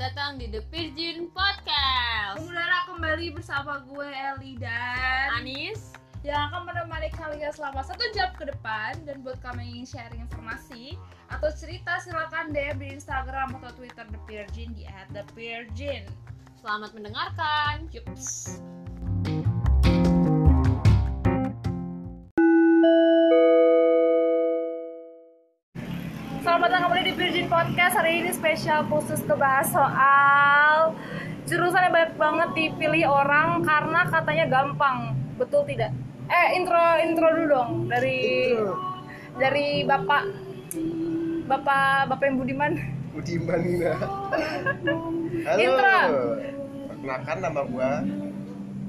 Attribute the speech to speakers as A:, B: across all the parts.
A: datang di The Virgin Podcast.
B: Saudara kembali bersama gue Eli dan
A: Anis,
B: yang akan menemani kalian selama satu jam ke depan dan buat kami yang ingin sharing informasi atau cerita silakan DM di Instagram atau Twitter The Virgin di @thepirgin.
A: selamat mendengarkan.
B: Yups. Selamat datang kembali di Virgin Podcast Hari ini spesial khusus kebahas soal Jurusan yang banyak banget dipilih orang karena katanya gampang Betul tidak? Eh intro intro dulu dong dari dari bapak bapak bapak yang Budiman
C: Budiman Nina. Halo.
B: Intra.
C: Perkenalkan nama gua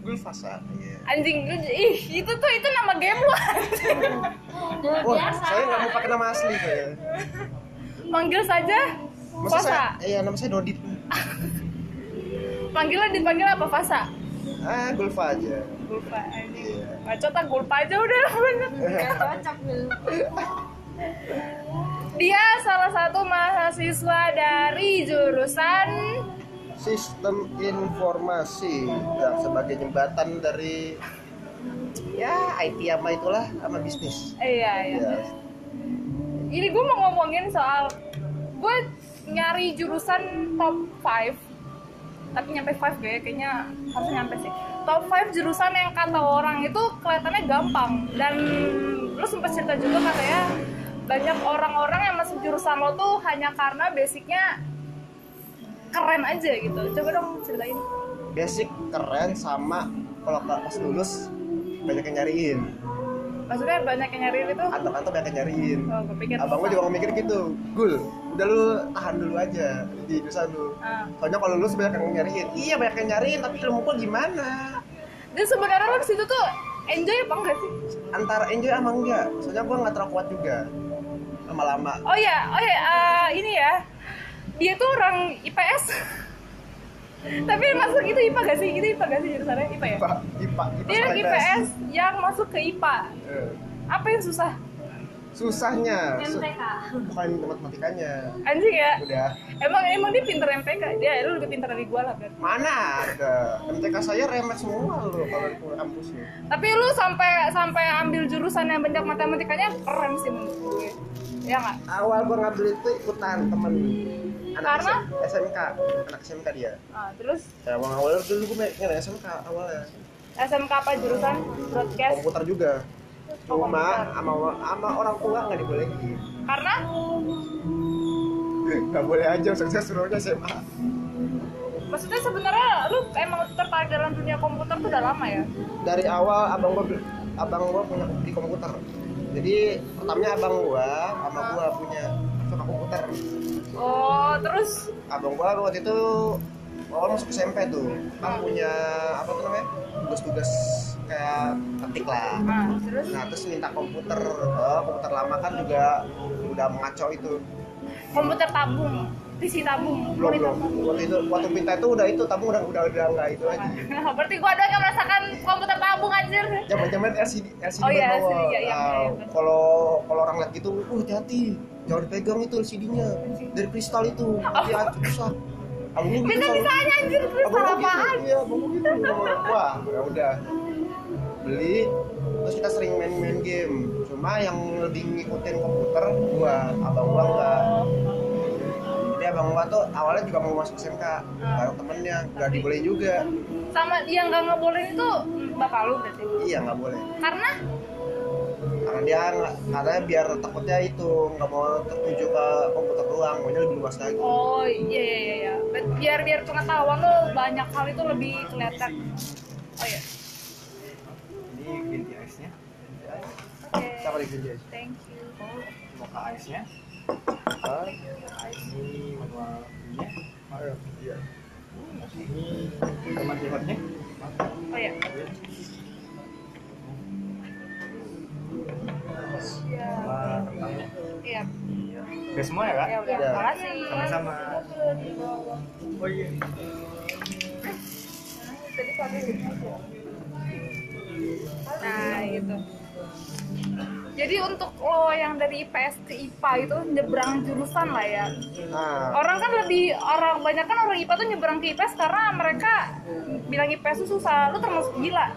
C: Gulfasa. Iya.
B: anjing lu- ih itu tuh itu nama game lu
C: Wah, saya nggak mau pakai nama asli saya.
B: manggil saja
C: Masa
B: Fasa.
C: saya, iya nama saya Dodit.
B: Panggilan dipanggil apa Fasa?
C: Ah, Gulfa aja.
B: Gulpa anjing.
C: Iya.
B: Bacot ah gulpa aja udah namanya. Dia salah satu mahasiswa dari jurusan
C: Sistem informasi yang sebagai jembatan dari ya IT sama itulah sama bisnis.
B: eh, iya iya.
C: Ya,
B: Ini gue mau ngomongin soal gue nyari jurusan top 5 tapi nyampe 5 gue kayaknya harusnya nyampe sih top 5 jurusan yang kata orang itu kelihatannya gampang dan lu sempet cerita juga katanya banyak orang-orang yang masuk jurusan lo tuh hanya karena basicnya keren aja gitu coba dong ceritain
C: basic keren sama kalau pas lulus banyak yang nyariin.
B: maksudnya banyak yang nyariin itu
C: Antok-antok banyak yang nyariin.
B: oh gue pikir
C: abang gue juga mikir gitu gul udah lu tahan dulu aja di jurusan lu
B: Ah.
C: soalnya kalau lu banyak yang nyariin iya banyak yang nyariin tapi ilmu gue gimana
B: dan sebenarnya lo disitu tuh enjoy apa enggak sih
C: antara enjoy sama enggak soalnya gue nggak terlalu kuat juga lama-lama
B: oh ya oh ya eh, ini ya dia tuh orang IPS tapi masuk itu IPA gak sih itu IPA gak sih jurusannya IPA ya
C: ipa ipa ipa
B: dia
C: sama
B: orang IPS yang masuk ke IPA
C: Eh,
B: apa yang susah
C: susahnya su-
A: MTK.
C: bukan matematikanya
B: anjing ya
C: udah
B: emang emang dia pinter MPK dia lu lebih pinter dari gua lah kan
C: mana ada MTK saya remet semua lu kalau ke kampus lu
B: tapi lu sampai sampai ambil jurusan yang banyak matematikanya keren sih menurut gue ya nggak
C: awal gue ngambil itu ikutan temen anak
B: Karena?
C: SM SMK anak SMK dia
B: Ah, terus
C: Ya, emang awalnya dulu gue pengen SMK awalnya
B: SMK apa jurusan broadcast
C: komputer juga
B: Oh,
C: cuma sama sama orang tua nggak dibolehin
B: karena
C: nggak boleh aja sukses suruhnya SMA
B: maksudnya sebenarnya lu emang tertarik dalam dunia komputer tuh udah lama ya
C: dari awal abang gua abang gua punya di komputer jadi pertamanya abang gua sama gua punya suka komputer
B: oh terus
C: abang gua waktu itu awal masuk SMP tuh bang punya apa tuh namanya tugas-tugas kayak ketik lah
B: ah, terus
C: nah terus minta komputer Eh, komputer lama kan juga udah mengacau itu
B: komputer tabung PC tabung
C: belum
B: monitor
C: belum waktu itu waktu minta itu udah itu tapi udah udah udah nggak itu lagi
B: tabung. berarti gua doang yang merasakan komputer tabung anjir
C: zaman zaman LCD LCD
B: Oh, iya,
C: berbawa.
B: LCD, iya, iya,
C: Nah,
B: iya, bener.
C: kalau kalau orang lihat gitu uh hati-hati jangan dipegang itu LCD-nya dari kristal itu nanti hancur rusak Abang gua gitu
B: bisa
C: selalu-
B: bisanya Oh. anjir terus
C: abang gua
B: salah
C: gitu,
B: apaan
C: iya abang gua gitu wah ya udah beli terus kita sering main-main game cuma yang lebih ngikutin komputer gua abang gua enggak jadi abang gua tuh awalnya juga mau masuk SMK bareng temennya nggak dibolehin juga
B: sama yang gak ngebolehin itu hmm, bapak lu berarti
C: iya nggak boleh
B: karena
C: karena dia nggak- karena biar takutnya itu nggak mau tertuju ke komputer doang maunya lebih luas lagi
B: oh iya iya iya, iya Bet- biar biar pengetahuan lu banyak hal itu lebih kelihatan oh iya
D: ini green tea ice nya
B: oke
C: siapa di sini
B: thank you
D: mocha ice nya
C: Hah?
D: ini manual nya
C: iya
D: ini tomat yogurt nya
B: oh iya
D: sama kentangnya
B: iya
D: udah semua ya kak?
B: ya udah
C: Iya.
B: makasih
D: sama-sama oh iya
B: nah gitu Jadi untuk lo yang dari IPS ke IPA itu nyebrang jurusan lah ya.
C: nah
B: Orang kan lebih orang banyak kan orang IPA tuh nyebrang ke IPS karena mereka bilang IPS tuh susah. Lu termasuk gila.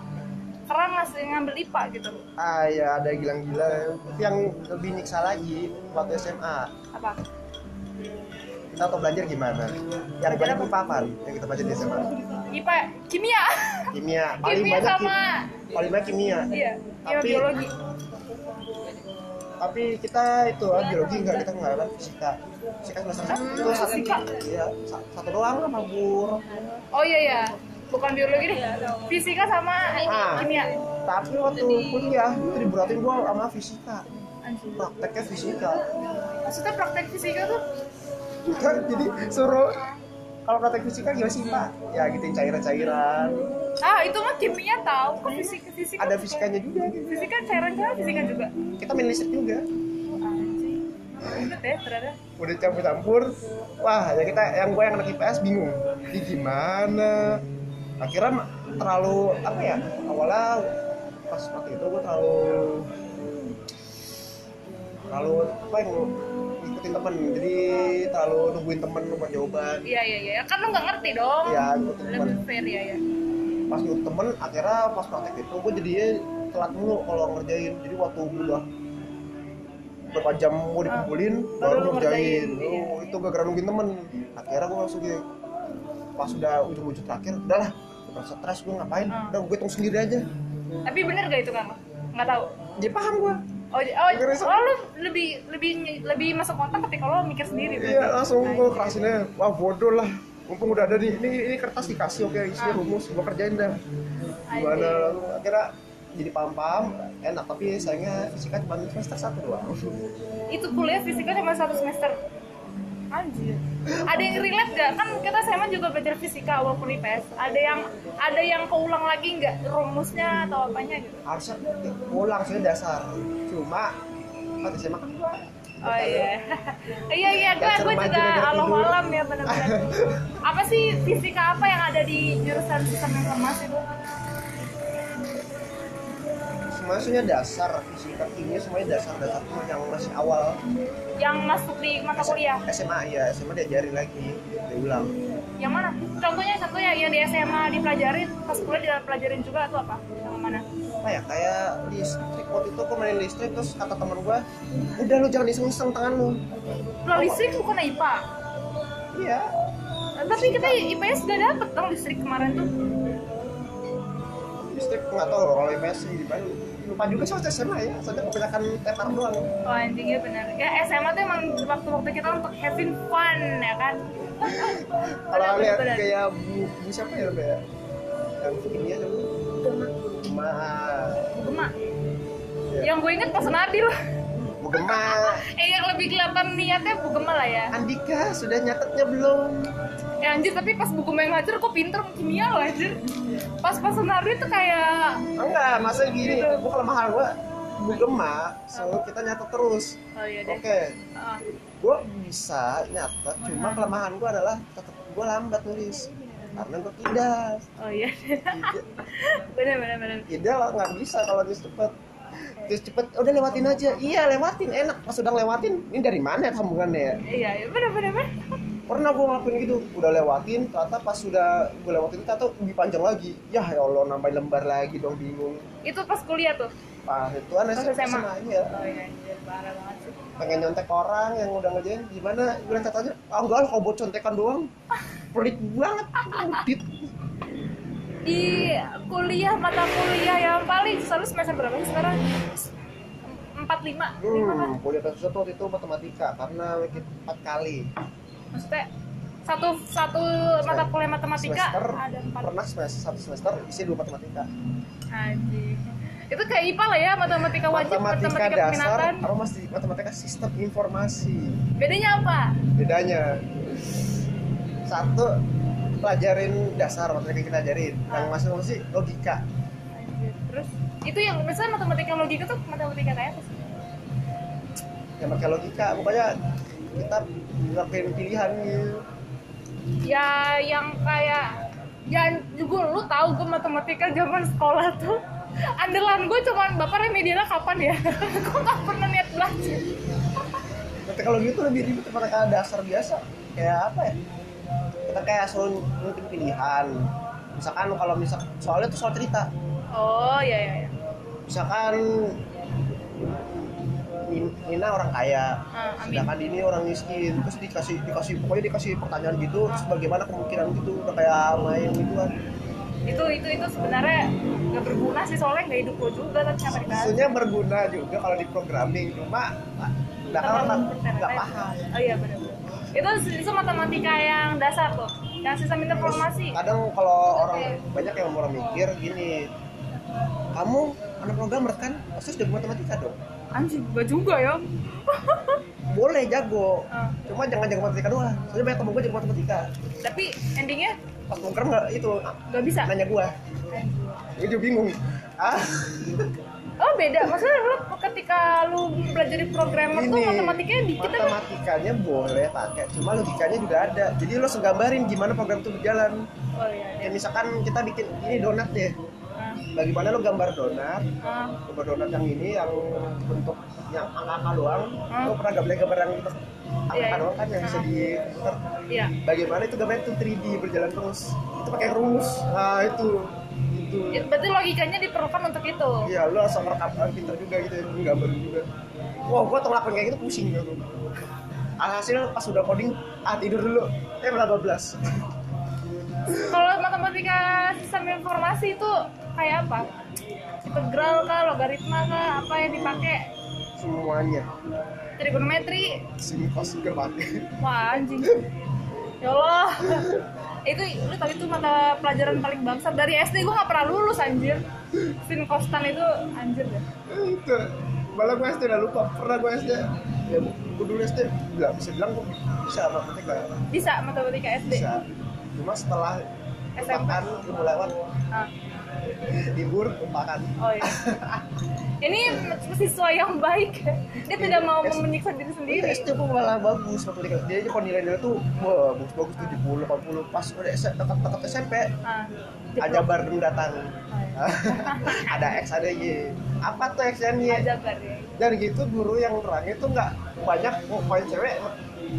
B: Karena ngasih ngambil IPA gitu.
C: ah ya ada gilang gila tapi yang lebih nyiksa lagi waktu SMA
B: Apa?
C: kita atau belajar gimana yang paling papan yang kita belajar di SMA
B: IPA kimia.
C: kimia paling
B: kimia
C: banyak
B: sama
C: kim- paling banyak kimia
B: iya, kimia
C: Tapi-
B: biologi.
C: tapi kita itu ah, biologi enggak kita enggak kan fisika fisika semester satu itu satu
B: Hmm, fisika.
C: ya sa- satu doang lah mabur
B: Oh iya ya. Bukan biologi deh. Fisika sama
C: Ah.
B: kimia.
C: tapi waktu kuliah itu diberatin gua sama fisika
B: Anjir.
C: prakteknya fisika
B: Maksudnya praktek fisika tuh
C: kan jadi suruh kalau praktek fisika gimana sih pak ya gitu cairan-cairan
B: ah itu mah kimia tahu kok kan fisika fisika
C: Iya. ada fisikanya juga gitu.
B: fisika cairan cairan fisika juga
C: kita main listrik juga
B: anjing ribet ya ternyata
C: udah campur-campur wah ya kita yang gue yang anak IPS bingung ini gimana akhirnya ma- terlalu apa ya awalnya pas waktu itu gue terlalu terlalu apa yang ngikutin temen jadi terlalu nungguin temen nungguin jawaban
B: iya iya iya kan lu nggak ngerti dong
C: Iya, ngikutin temen
B: lebih fair ya ya
C: pas ngikut temen akhirnya pas praktek itu gue jadinya telat mulu kalau ngerjain jadi waktu udah berapa jam gue dikumpulin
B: baru
C: Ah, baru
B: lu
C: ngerjain
B: ngerjain,
C: oh, itu gak keren nungguin temen akhirnya gue langsung gitu pas udah ujung-ujung terakhir udahlah udah stres gue ngapain
B: Ah.
C: udah gue hitung sendiri aja
B: tapi bener gak itu kan lo? nggak tahu
C: dia paham gue
B: oh j- oh,
C: Bener,
B: oh lu lebih lebih lebih masuk otak ketika lo mikir sendiri
C: iya
B: berarti.
C: langsung gue kerasinnya wah bodoh lah mumpung udah ada nih ini, ini kertas dikasih oke isinya rumus gue kerjain dah gimana lalu akhirnya jadi paham-paham enak tapi sayangnya fisika cuma semester satu doang
B: itu kuliah fisika cuma satu semester anjir ada yang relate gak? kan kita SMA juga belajar fisika walaupun IPS ada yang ada yang keulang lagi nggak rumusnya atau apanya gitu
C: harusnya pulang sih dasar cuma pada SMA kan gua
B: Oh
C: ya.
B: iya, iya iya gue
C: Dasar
B: gue
C: maju
B: juga
C: negara
B: alam
C: tidur.
B: alam ya benar-benar. apa sih fisika apa yang ada di jurusan sistem informasi itu?
C: semuanya dasar fisika kimia semuanya dasar dasar tuh yang masih awal
B: Yang masuk di mata kuliah?
C: SMA ya SMA diajarin lagi diulang
B: Yang mana? Contohnya contohnya yang di SMA dipelajarin, pas kuliah dipelajarin juga atau apa? Yang mana?
C: apa ya kayak listrik waktu itu gua main listrik terus kata teman gua udah lu jangan iseng iseng tangan lu
B: Lo listrik bukan IPA.
C: iya
B: Tapi kita IPS sudah dapet dong listrik kemarin tuh.
C: listrik nggak tahu kalau IPS sih di Bandung lupa juga sih waktu SMA ya soalnya kebanyakan tepar doang
B: Oh anjingnya benar. Ya SMA tuh emang waktu-waktu kita untuk having fun ya kan.
C: kalau
B: Benar,
C: lihat
B: benar.
C: kayak bu, bu siapa ya kayak yang kimia dulu cuma
B: Gema.
C: Iya.
B: Yang gue inget pas Nadil.
C: Bu Gema
B: Eh yang lebih kelihatan niatnya Bu Gema lah ya.
C: Andika sudah nyatetnya belum?
B: Eh anjir tapi pas Bu Gema yang ngajar kok pinter kimia loh anjir. Pas pas Nadil tuh kayak
C: Ah, Enggak, masa gini, gua kelemahan gua Bu Gema, selalu kita nyatet terus
B: oh iya deh.
C: Oke,
B: Ah.
C: gua bisa nyatet, cuma kelemahan gua adalah tetep gua lambat nulis Karena gua tidak
B: Oh iya deh. bener bener bener.
C: Tidak lah, nggak bisa kalau nulis cepet Terus cepet, udah lewatin aja Iya lewatin, enak Pas udah lewatin, ini dari mana ya sambungannya ya?
B: Iya iya bener bener bener.
C: Pernah gua ngelakuin gitu, udah lewatin Ternyata pas sudah gua lewatin, ternyata lebih panjang lagi Yah ya Allah, nambahin lembar lagi dong, bingung kan
B: Itu pas kuliah tuh.
C: Pak Rituan
B: Pas
C: SMA,
B: SMA.
C: aja
B: Oh iya anjir parah banget sih.
C: ya, pengen nyontek orang yang udah ngerjain gimana gue liat aja ah enggak lah kobot contekan doang pelit banget pelit
B: di kuliah mata kuliah yang paling selalu semester berapa sih sekarang? Empat lima, lima kan?
C: hmm kuliah kasus satu waktu itu matematika karena kita empat kali
B: Maksudnya satu satu mata kuliah matematika
C: semester
B: ada empat.
C: pernah semester satu semester isi dua matematika
B: Haji. Itu kayak IPA lah ya matematika wajib matematika,
C: matematika dasar
B: peminatan.
C: apa masih matematika sistem informasi
B: Bedanya apa?
C: bedanya satu pelajarin dasar matematika kita ajarin yang masih masih logika
B: Haji. Terus itu yang misalnya matematika logika tuh matematika kayak apa sih?
C: yang pakai logika pokoknya kita ngelakuin pilihan gitu
B: Ya yang kayak ya juga lu tahu gue matematika zaman sekolah tuh andalan gue cuman bapak remedialnya kapan ya gue gak pernah niat belajar
C: Tapi kalau gitu lebih ribet daripada kayak dasar biasa. Kayak apa ya? Kita kayak suruh nunjukin pilihan. Misalkan kalau misal soalnya itu soal cerita.
B: oh iya iya iya
C: Misalkan Nin- Nina orang kaya,
B: Ah, amin.
C: sedangkan ini orang miskin. Terus dikasih dikasih pokoknya dikasih pertanyaan gitu, terus bagaimana kemungkinan gitu udah kayak main gitu kan.
B: itu itu itu sebenarnya nggak berguna sih soalnya nggak hidup lo juga tapi kenapa dikasih
C: Sebenarnya berguna juga kalau di programming, cuma nggak
B: Terlalu
C: kan nggak
B: internet.
C: paham.
B: oh iya benar itu itu matematika yang dasar tuh yang sistem informasi
C: kadang kalau orang banyak yang orang mikir gini kamu anak programmer kan pasti sudah matematika dong
B: anjing gak juga ya
C: boleh jago
B: Ah.
C: cuma jangan jago matematika doang soalnya banyak temen gue jago matematika
B: tapi endingnya
C: pas program nggak itu
B: nggak bisa
C: nanya gue gue juga bingung ah
B: oh beda maksudnya lu ketika lu belajar di programmer tuh
C: Ini,
B: matematikanya dikit tapi
C: matematikanya boleh pakai cuma logikanya juga ada jadi lo segambarin gimana program itu berjalan
B: oh iya iya.
C: kayak misalkan kita bikin ini donat deh
B: Ah,
C: bagaimana lo gambar donat
B: ah.
C: gambar donat yang ini yang bentuk yang angka-angka doang
B: Hmm.
C: lo pernah gak beli gambar yang bentuk
B: Iya,
C: angka
B: iya.
C: doang kan yang bisa di ter-
B: iya
C: bagaimana itu gambarnya itu 3D berjalan terus itu pakai rumus nah itu itu
B: Itu Ya, berarti logikanya diperlukan untuk itu
C: iya lo asal merekam orang pintar juga gitu yang gambar juga wah gua tuh ngelakuin kayak gitu pusing gitu alhasil pas udah coding ah tidur dulu eh malah 12
B: kalau matematika sistem informasi itu kayak apa integral kah logaritma kah apa yang dipakai
C: semuanya
B: trigonometri
C: sini pas juga pakai
B: wah anjing ya Allah itu lu tadi tuh mata pelajaran paling bangsat dari SD gue nggak pernah lulus anjir sin kostan itu anjir deh
C: itu malah gue SD udah lupa pernah gue SD ya gue dulu SD bilang bisa bilang gue bisa matematika
B: bisa matematika SD
C: bisa cuma setelah
B: SMP.
C: lupakan ilmu lewat
B: Ah,
C: libur lupakan
B: oh iya ini siswa yang baik dia tidak mau menyiksa diri sendiri
C: SD gue malah bagus matematika dia aja kalau nilai-nilai tuh wah bagus bagus 70 80 pas udah tetap-tetap SMP
B: ah,
C: ada bareng datang Ah,
B: Oh,
C: ada X ada Y apa tuh X dan Y
B: ajabar ya
C: dan gitu guru yang terangnya tuh nggak banyak poin cewek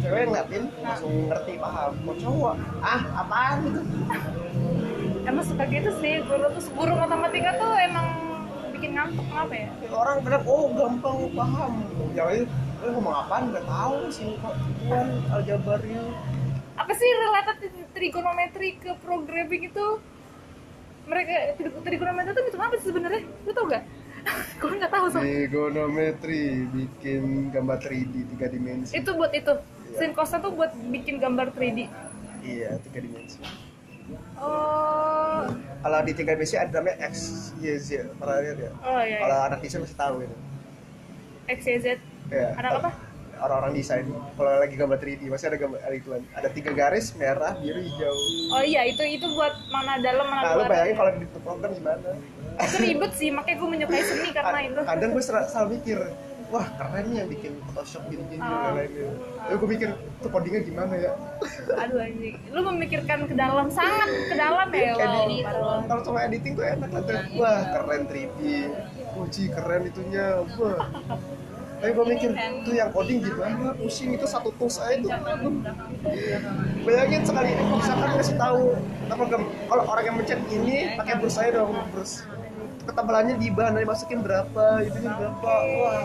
C: cewek yang ngeliatin langsung ngerti paham kok cowok ah apaan gitu
B: emang suka gitu sih guru tuh guru matematika tuh emang bikin ngantuk apa ya
C: orang bilang oh gampang paham yang itu eh ngomong apaan nggak tahu sih kok Tuhan aljabarnya
B: apa sih related trigonometri ke programming itu mereka tri- trigonometri itu hitung apa sih sebenarnya lu tau gak gue nggak tahu
C: Iya.
B: soalnya
C: trigonometri bikin gambar 3D tiga dimensi
B: itu buat itu sin cosnya tuh buat bikin gambar 3D
C: iya tiga dimensi
B: oh
C: kalau di tiga dimensi ada namanya X Y Z pernah lihat ya
B: oh iya,
C: kalau
B: iya.
C: anak desain masih tahu gitu
B: x y z
C: ya
B: Anak apa?
C: orang-orang desain kalau lagi gambar 3D masih ada gambar ada ituan ada tiga garis merah biru hijau
B: oh iya itu itu buat mana dalam mana
C: nah lu
B: luar
C: bayangin kalau di program gimana
B: itu ribet sih makanya gue menyukai seni karena
C: Kad-
B: itu
C: kadang gue sel- selalu mikir wah keren nih yang bikin Photoshop gini gini
B: Ah.
C: dan lain-lain lalu gue mikir tuh codingnya gimana ya
B: aduh anjing lu memikirkan ke dalam sangat ke dalam ya wow,
C: Editing.
B: parah.
C: kalau cuma editing tuh enak kan tuh. wah keren 3D uji keren itunya wah tapi gue mikir tuh yang coding gimana pusing itu satu tools aja tuh bayangin sekali misalkan ngasih tahu apa gem- kalau orang yang mencet ini pakai bursa aja dong terus ketebalannya di bahan dari masukin berapa itunya berapa wah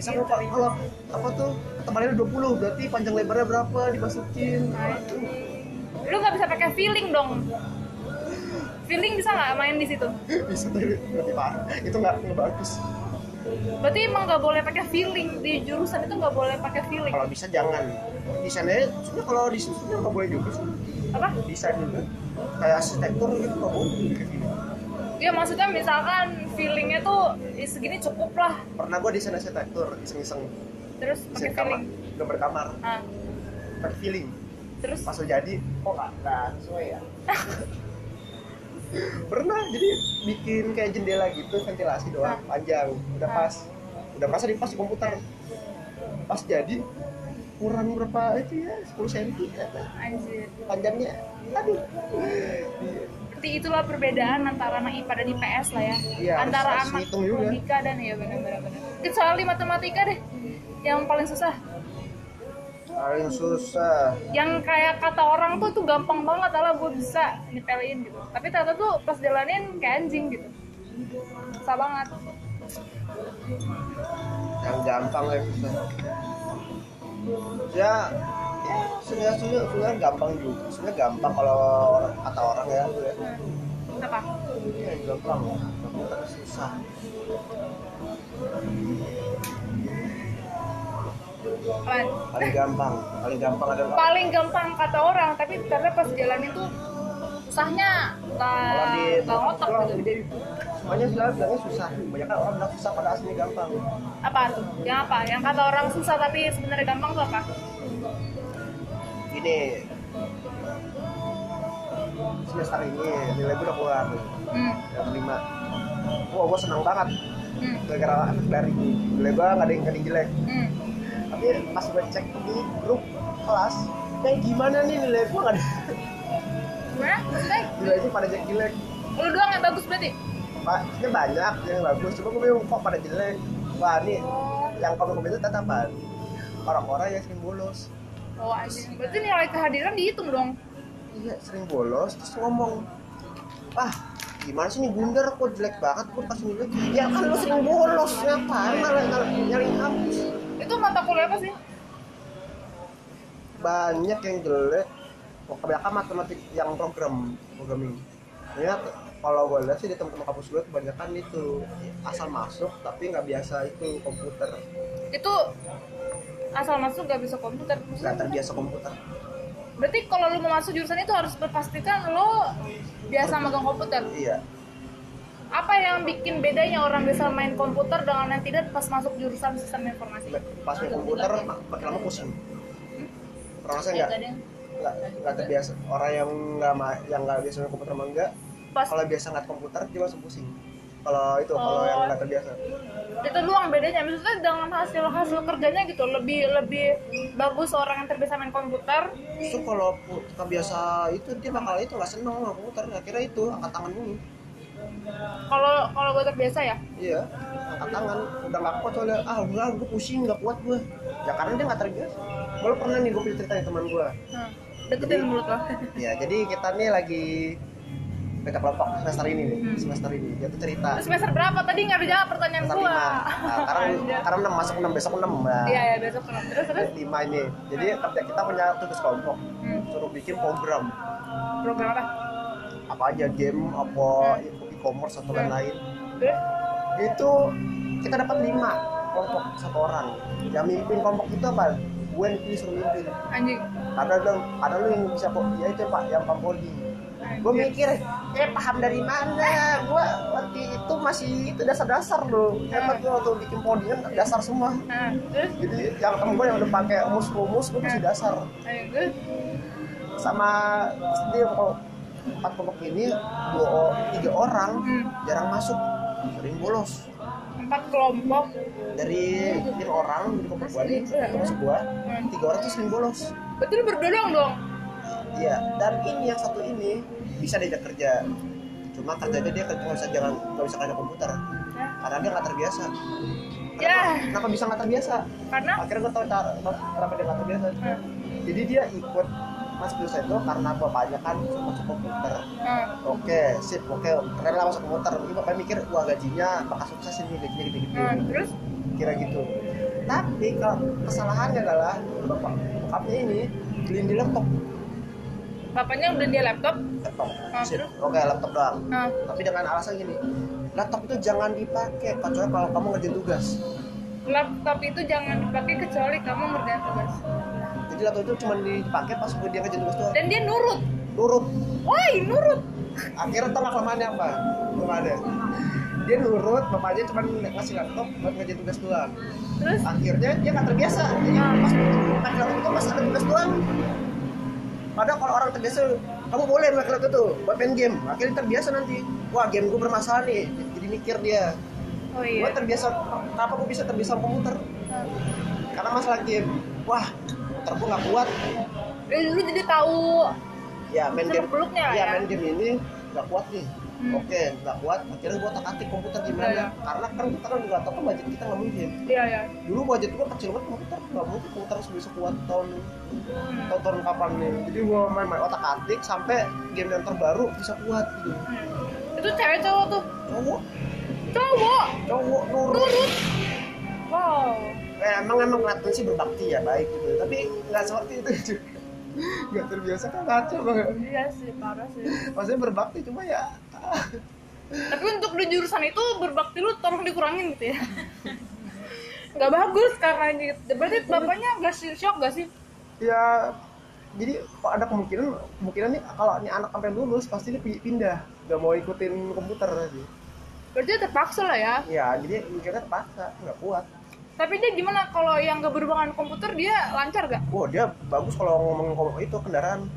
C: bisa kalau kalau apa tuh ketebalannya 20 berarti panjang lebarnya berapa dimasukin
B: Iya. lu nggak bisa pakai feeling dong feeling bisa nggak main di situ
C: bisa tuh berarti parah itu nggak nggak bagus
B: berarti emang nggak boleh pakai feeling di jurusan itu nggak boleh pakai feeling
C: kalau bisa jangan desainnya sebenarnya kalau di sini sebenarnya nggak boleh juga sih
B: apa
C: desain juga kayak arsitektur gitu nggak boleh kayak gini.
B: ya maksudnya misalkan feelingnya tuh "Ih, segini cukup lah
C: pernah gue desain arsitektur iseng-iseng
B: terus pakai
C: desain kamar
B: feeling
C: gambar kamar
B: nah,
C: pakai feeling
B: terus
C: pas udah jadi kok nggak nggak sesuai ya pernah jadi bikin kayak jendela gitu ventilasi doang panjang udah
B: Ah.
C: pas udah merasa di pas di komputer pas jadi kurang berapa itu ya 10 cm
B: anjir
C: panjangnya aduh
B: itu seperti itulah perbedaan antara anak IPA dan IPS lah ya.
C: Iya,
B: antara
C: harus- harus
B: anak
C: ngitung juga.
B: logika dan ya benar-benar. Kecuali matematika deh, yang paling susah.
C: paling susah
B: Yang kayak kata orang tuh tuh gampang banget lah gue bisa nyepelin gitu. Tapi ternyata tuh pas jalanin kayak anjing gitu. Susah banget.
C: yang gampang yang susah ya sebenarnya sebenarnya sebenarnya gampang juga sebenarnya gampang kalau orang kata orang ya gitu ya
B: Apa?
C: Iya, gampang gampang susah
B: Apaan?
C: paling gampang paling gampang adalah
B: Paling gampang kata orang, tapi ternyata pas jalanin tuh susahnya
C: kalau
B: nggak
C: di
B: nggak ngotak
C: orang
B: gitu.
C: gede semuanya selalu bilangnya susah banyak kan orang bilang susah pada aslinya gampang
B: Apa tuh? Yang apa? Yang kata orang susah tapi sebenarnya gampang tuh apa?
C: gini semester ini nilai gue udah keluar
B: Hmm.
C: yang kelima wah gue senang banget
B: Hmm.
C: gara-gara anak dari nilai gue gak ada yang gak ada yang jelek
B: Hmm.
C: tapi pas gue cek di grup kelas kayak gimana nih nilai gue kan
B: Gimana? Maksudnya
C: nilai itu pada jelek jelek
B: lu doang yang bagus berarti?
C: pak ini banyak yang bagus cuma gue bingung kok pada jelek wah nih
B: Oh,
C: yang komen komen itu tatapan orang-orang yang sering bolos
B: Oh anjing. Berarti nilai kehadiran dihitung dong.
C: iya sering bolos terus ngomong ah gimana sih nih bundar kok jelek banget kok pas nilai ya kan lu sering bolos ngapain malah malah nyariin hapus
B: Itu mata kuliah apa sih?
C: banyak yang jelek kok kebanyakan matematik yang program programming ya kalau gue lihat sih di teman-teman kampus gue kebanyakan itu asal masuk tapi nggak biasa itu komputer
B: Itu asal masuk gak bisa komputer.
C: nggak terbiasa komputer
B: Berarti kalau lu mau masuk jurusan itu harus berpastikan lu biasa megang komputer.
C: iya
B: Apa yang bikin bedanya orang bisa main komputer dengan yang tidak pas masuk jurusan sistem informasi?
C: pas main komputer makin lama pusing rasanya nggak
A: Ada yang
C: nggak nggak terbiasa orang yang nggak ma- yang nggak biasa main komputer mah enggak
B: Pas
C: kalau biasa ngeliat komputer dia langsung pusing kalau itu kalau yang nggak terbiasa
B: itu doang bedanya maksudnya dengan hasil hasil kerjanya gitu lebih lebih bagus orang yang terbiasa main komputer
C: itu kalau pu- kebiasa itu dia bakal itu nggak seneng sama komputer akhirnya itu angkat tangan dulu
B: kalau kalau gue terbiasa ya
C: iya angkat tangan udah nggak kuat soalnya ah udah gue pusing nggak kuat gue ya karena dia nggak terbiasa gue pernah nih gue cerita teman gue
B: hmm. deketin mulut lo
C: ya jadi kita nih lagi beda kelompok semester ini nih semester ini dia tuh cerita
B: Terus Hmm. semester berapa tadi nggak ada jawab pertanyaan
C: semester
B: gue
C: lima nah, sekarang sekarang enam masuk enam besok enam nah
B: iya ya besok kenapa terus terus
C: lima ini jadi kerja kita punya tugas kelompok
B: hmm.
C: suruh bikin program
B: program apa
C: apa aja game apa
B: Hmm.
C: e-commerce atau lain-lain
B: terus
C: itu kita dapat lima kelompok satu orang yang mimpin kelompok itu apa gue yang disuruh mimpin
B: anjing
C: ada dong ada lu yang bisa kok ya itu pak yang pak Poldi gue
B: Iya.
C: mikir eh paham dari mana gue waktu itu masih itu dasar-dasar loh hebat gue waktu bikin Poldi kan dasar semua
B: nah terus
C: jadi yang temen gue yang udah pakai rumus-rumus gue masih dasar
B: anjing terus
C: sama dia kalau empat kelompok ini dua tiga orang
B: Hmm.
C: jarang masuk sering bolos
B: empat kelompok
C: dari lima orang di kelompok gua nih termasuk gua tiga orang tuh sering bolos
B: betul berdua doang dong
C: iya dan ini yang satu ini bisa diajak kerja cuma kerjanya dia kerja nggak bisa jangan nggak bisa kerja komputer karena dia nggak terbiasa
B: Ya.
C: kenapa, kenapa bisa nggak terbiasa
B: karena
C: akhirnya gua tahu cara kenapa dia nggak terbiasa
B: Hmm.
C: jadi dia ikut mas Biusa itu karena bapaknya kan suka masuk komputer
B: hmm.
C: oke sip oke keren lah masuk komputer ini bapaknya mikir wah gajinya bakal sukses ini gajinya gede-gede
B: Hmm. terus
C: kira gitu tapi kalau kesalahannya adalah bapak bokapnya ini beliin di laptop
B: bapaknya udah dia laptop
C: laptop
B: Ah,
C: Sip.
B: terus?
C: oke laptop doang
B: nah
C: tapi dengan alasan gini laptop itu jangan dipakai kecuali kalau kamu ngerjain tugas
B: laptop itu jangan dipakai kecuali kamu ngerjain tugas
C: jadi laptop itu cuma dipakai pas dia ngerjain tugas doang
B: dan dia nurut
C: nurut
B: woi nurut
C: akhirnya tengah ya, kelemahannya apa kelemahannya dia nurut bapaknya cuma ngasih laptop buat ngerjain tugas doang
B: terus
C: akhirnya dia nggak terbiasa jadi pas pakai laptop itu masih ada tugas doang padahal kalau orang terbiasa kamu boleh pakai laptop itu buat main game akhirnya terbiasa nanti wah game gue bermasalah nih jadi mikir dia
B: oh
C: gue
B: iya
C: terbiasa kenapa gue bisa terbiasa sama komputer karena masalah game wah komputer gue nggak kuat
B: Eh, lu jadi tahu
C: ya main game
B: Seluk-beluknya lah
C: ya
B: ya.
C: main game ini nggak kuat nih
B: Hmm.
C: oke nggak kuat akhirnya gue tak atik komputer gimana
B: Iya, iya.
C: karena kan kita kan nggak tahu kan budget kita nggak mungkin
B: Iya ya.
C: dulu budget gue kecil banget komputer nggak mungkin komputer harus bisa kuat tahun
B: Hmm.
C: tahun, tahun kapan nih jadi gue main-main otak atik sampai game yang terbaru bisa kuat gitu
B: Itu cewek cowok tuh.
C: cowok
B: Cowok.
C: cowok nurut
B: Wow.
C: eh, emang emang kelihatan sih berbakti ya baik gitu tapi nggak seperti itu juga nggak terbiasa kan ngaco banget
B: Iya sih parah sih.
C: maksudnya berbakti cuma ya
B: Tapi untuk di jurusan itu berbakti lu tolong dikurangin gitu ya. Gak bagus karena gitu. Berarti bapaknya gak sih shock gak sih?
C: ya jadi kok ada kemungkinan kemungkinan nih kalau ini anak sampai lulus pasti dia pi- pindah nggak mau ikutin komputer tadi
B: Berarti terpaksa lah ya.
C: ya jadi mikirnya terpaksa nggak kuat
B: Tapi dia gimana kalau yang gak berhubungan dengan komputer dia lancar gak?
C: wah dia bagus kalau ngomongin kom- itu kendaraan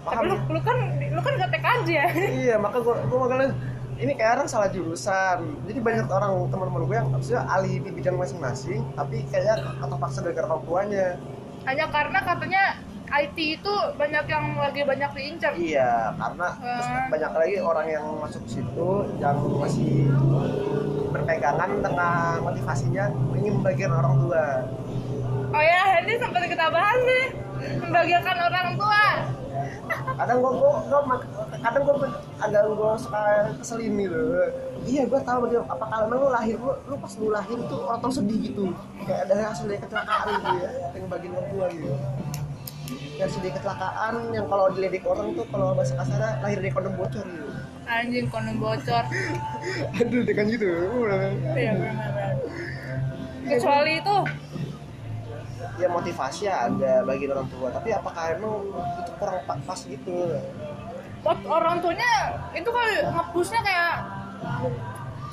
B: Tapi lu,
C: paham ya?
B: lu kan lu kan gak TK aja ya.
C: iya maka gua gua makanya ini kayak orang salah jurusan jadi banyak orang teman-teman gue yang maksudnya ahli di bidang masing-masing tapi kayaknya terpaksa dari orang tuanya
B: Hanya karena katanya IT itu banyak yang lagi banyak diincar.
C: Iya, karena terus
B: Hmm.
C: banyak lagi orang yang masuk situ yang masih berpegangan dengan motivasinya ingin membagikan orang tua.
B: Oh ya, ini sempat kita bahas nih membagiakan orang tua.
C: Kadang gua, gua, gua mak- kadang gua agak gua suka keselin gitu. Iya, gua tahu dia apa kalau emang lu lahir lu, lu pas lu lahir tuh orang tua sedih gitu. Kayak dari hasil dari kecelakaan gitu ya, yang bagian orang tua gitu. Dari hasil dari kecelakaan yang kalau diledek orang tuh kalau bahasa kasarnya lahir dari kondom bocor gitu.
B: Anjing kondom bocor.
C: Aduh, dia kan gitu.
B: Iya benar-benar. Kecuali itu
C: ya motivasi ada bagi orang tua tapi apakah emang itu kurang pa- pas gitu
B: pot orang tuanya itu kali ngepusnya kayak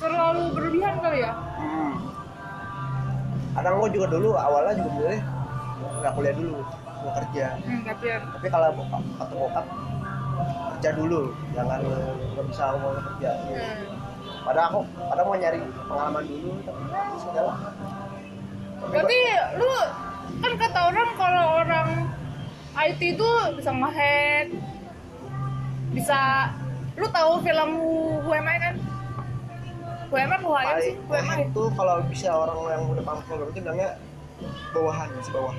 B: terlalu berlebihan kali ya.
C: hmm. kadang gue juga dulu awalnya juga milih nggak kuliah dulu mau kerja
B: Hmm, tapi
C: tapi kalau bokap atau bokap kerja dulu jangan nggak bisa mau kerja
B: hmm.
C: padahal aku padahal mau nyari pengalaman dulu tapi ya sudah lah Tapi gua-
B: Berarti lu kan kata orang kalau orang IT itu bisa ngehack, bisa lu tahu film WMI kan? WMI buaya sih,
C: paling
B: WMI.
C: itu kalau bisa orang yang udah paham program itu bilangnya bawahan masih bawah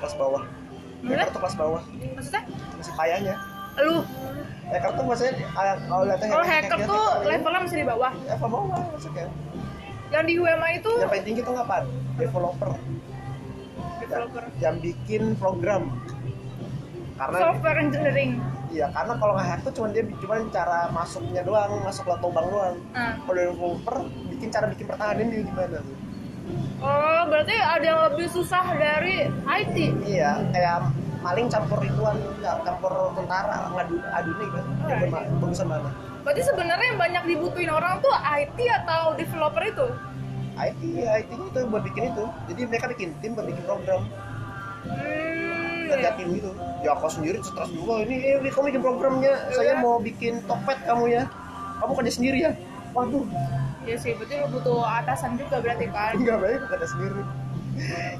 C: kelas bawah
B: Boleh?
C: mereka tuh kelas bawah
B: Maksudnya
C: masih kayanya
B: lu
C: hacker tuh maksudnya ah, kalau lihatnya
B: kalau hacker tuh
C: gitu,
B: levelnya masih di bawah.
C: level bawah maksudnya kan?
B: Yang di WMI itu
C: yang paling tinggi tuh ngapain developer
B: developer
C: yang bikin program karena
B: software engineering.
C: iya karena kalau nge-hack tuh cuma dia cuma cara masuknya doang masuk lewat lubang doang
B: Nah.
C: kalau developer bikin cara bikin pertahanan dia gimana
B: Oh, berarti ada yang lebih susah dari IT.
C: iya kayak maling campur ituan campur tentara ngadu adunya gitu
B: iya.
C: yang bagusan mana
B: Berarti sebenarnya yang banyak dibutuhin orang tuh IT atau developer itu.
C: IT IT itu buat bikin itu jadi mereka bikin tim buat bikin program
B: Hmm,
C: kerja
B: iya.
C: tim gitu ya aku sendiri stres juga ini eh, kamu bikin programnya saya
B: Iya.
C: mau bikin topet kamu ya kamu kerja sendiri ya waduh
B: Iya sih, berarti lu butuh atasan juga berarti kan?
C: nggak baik aku kerja sendiri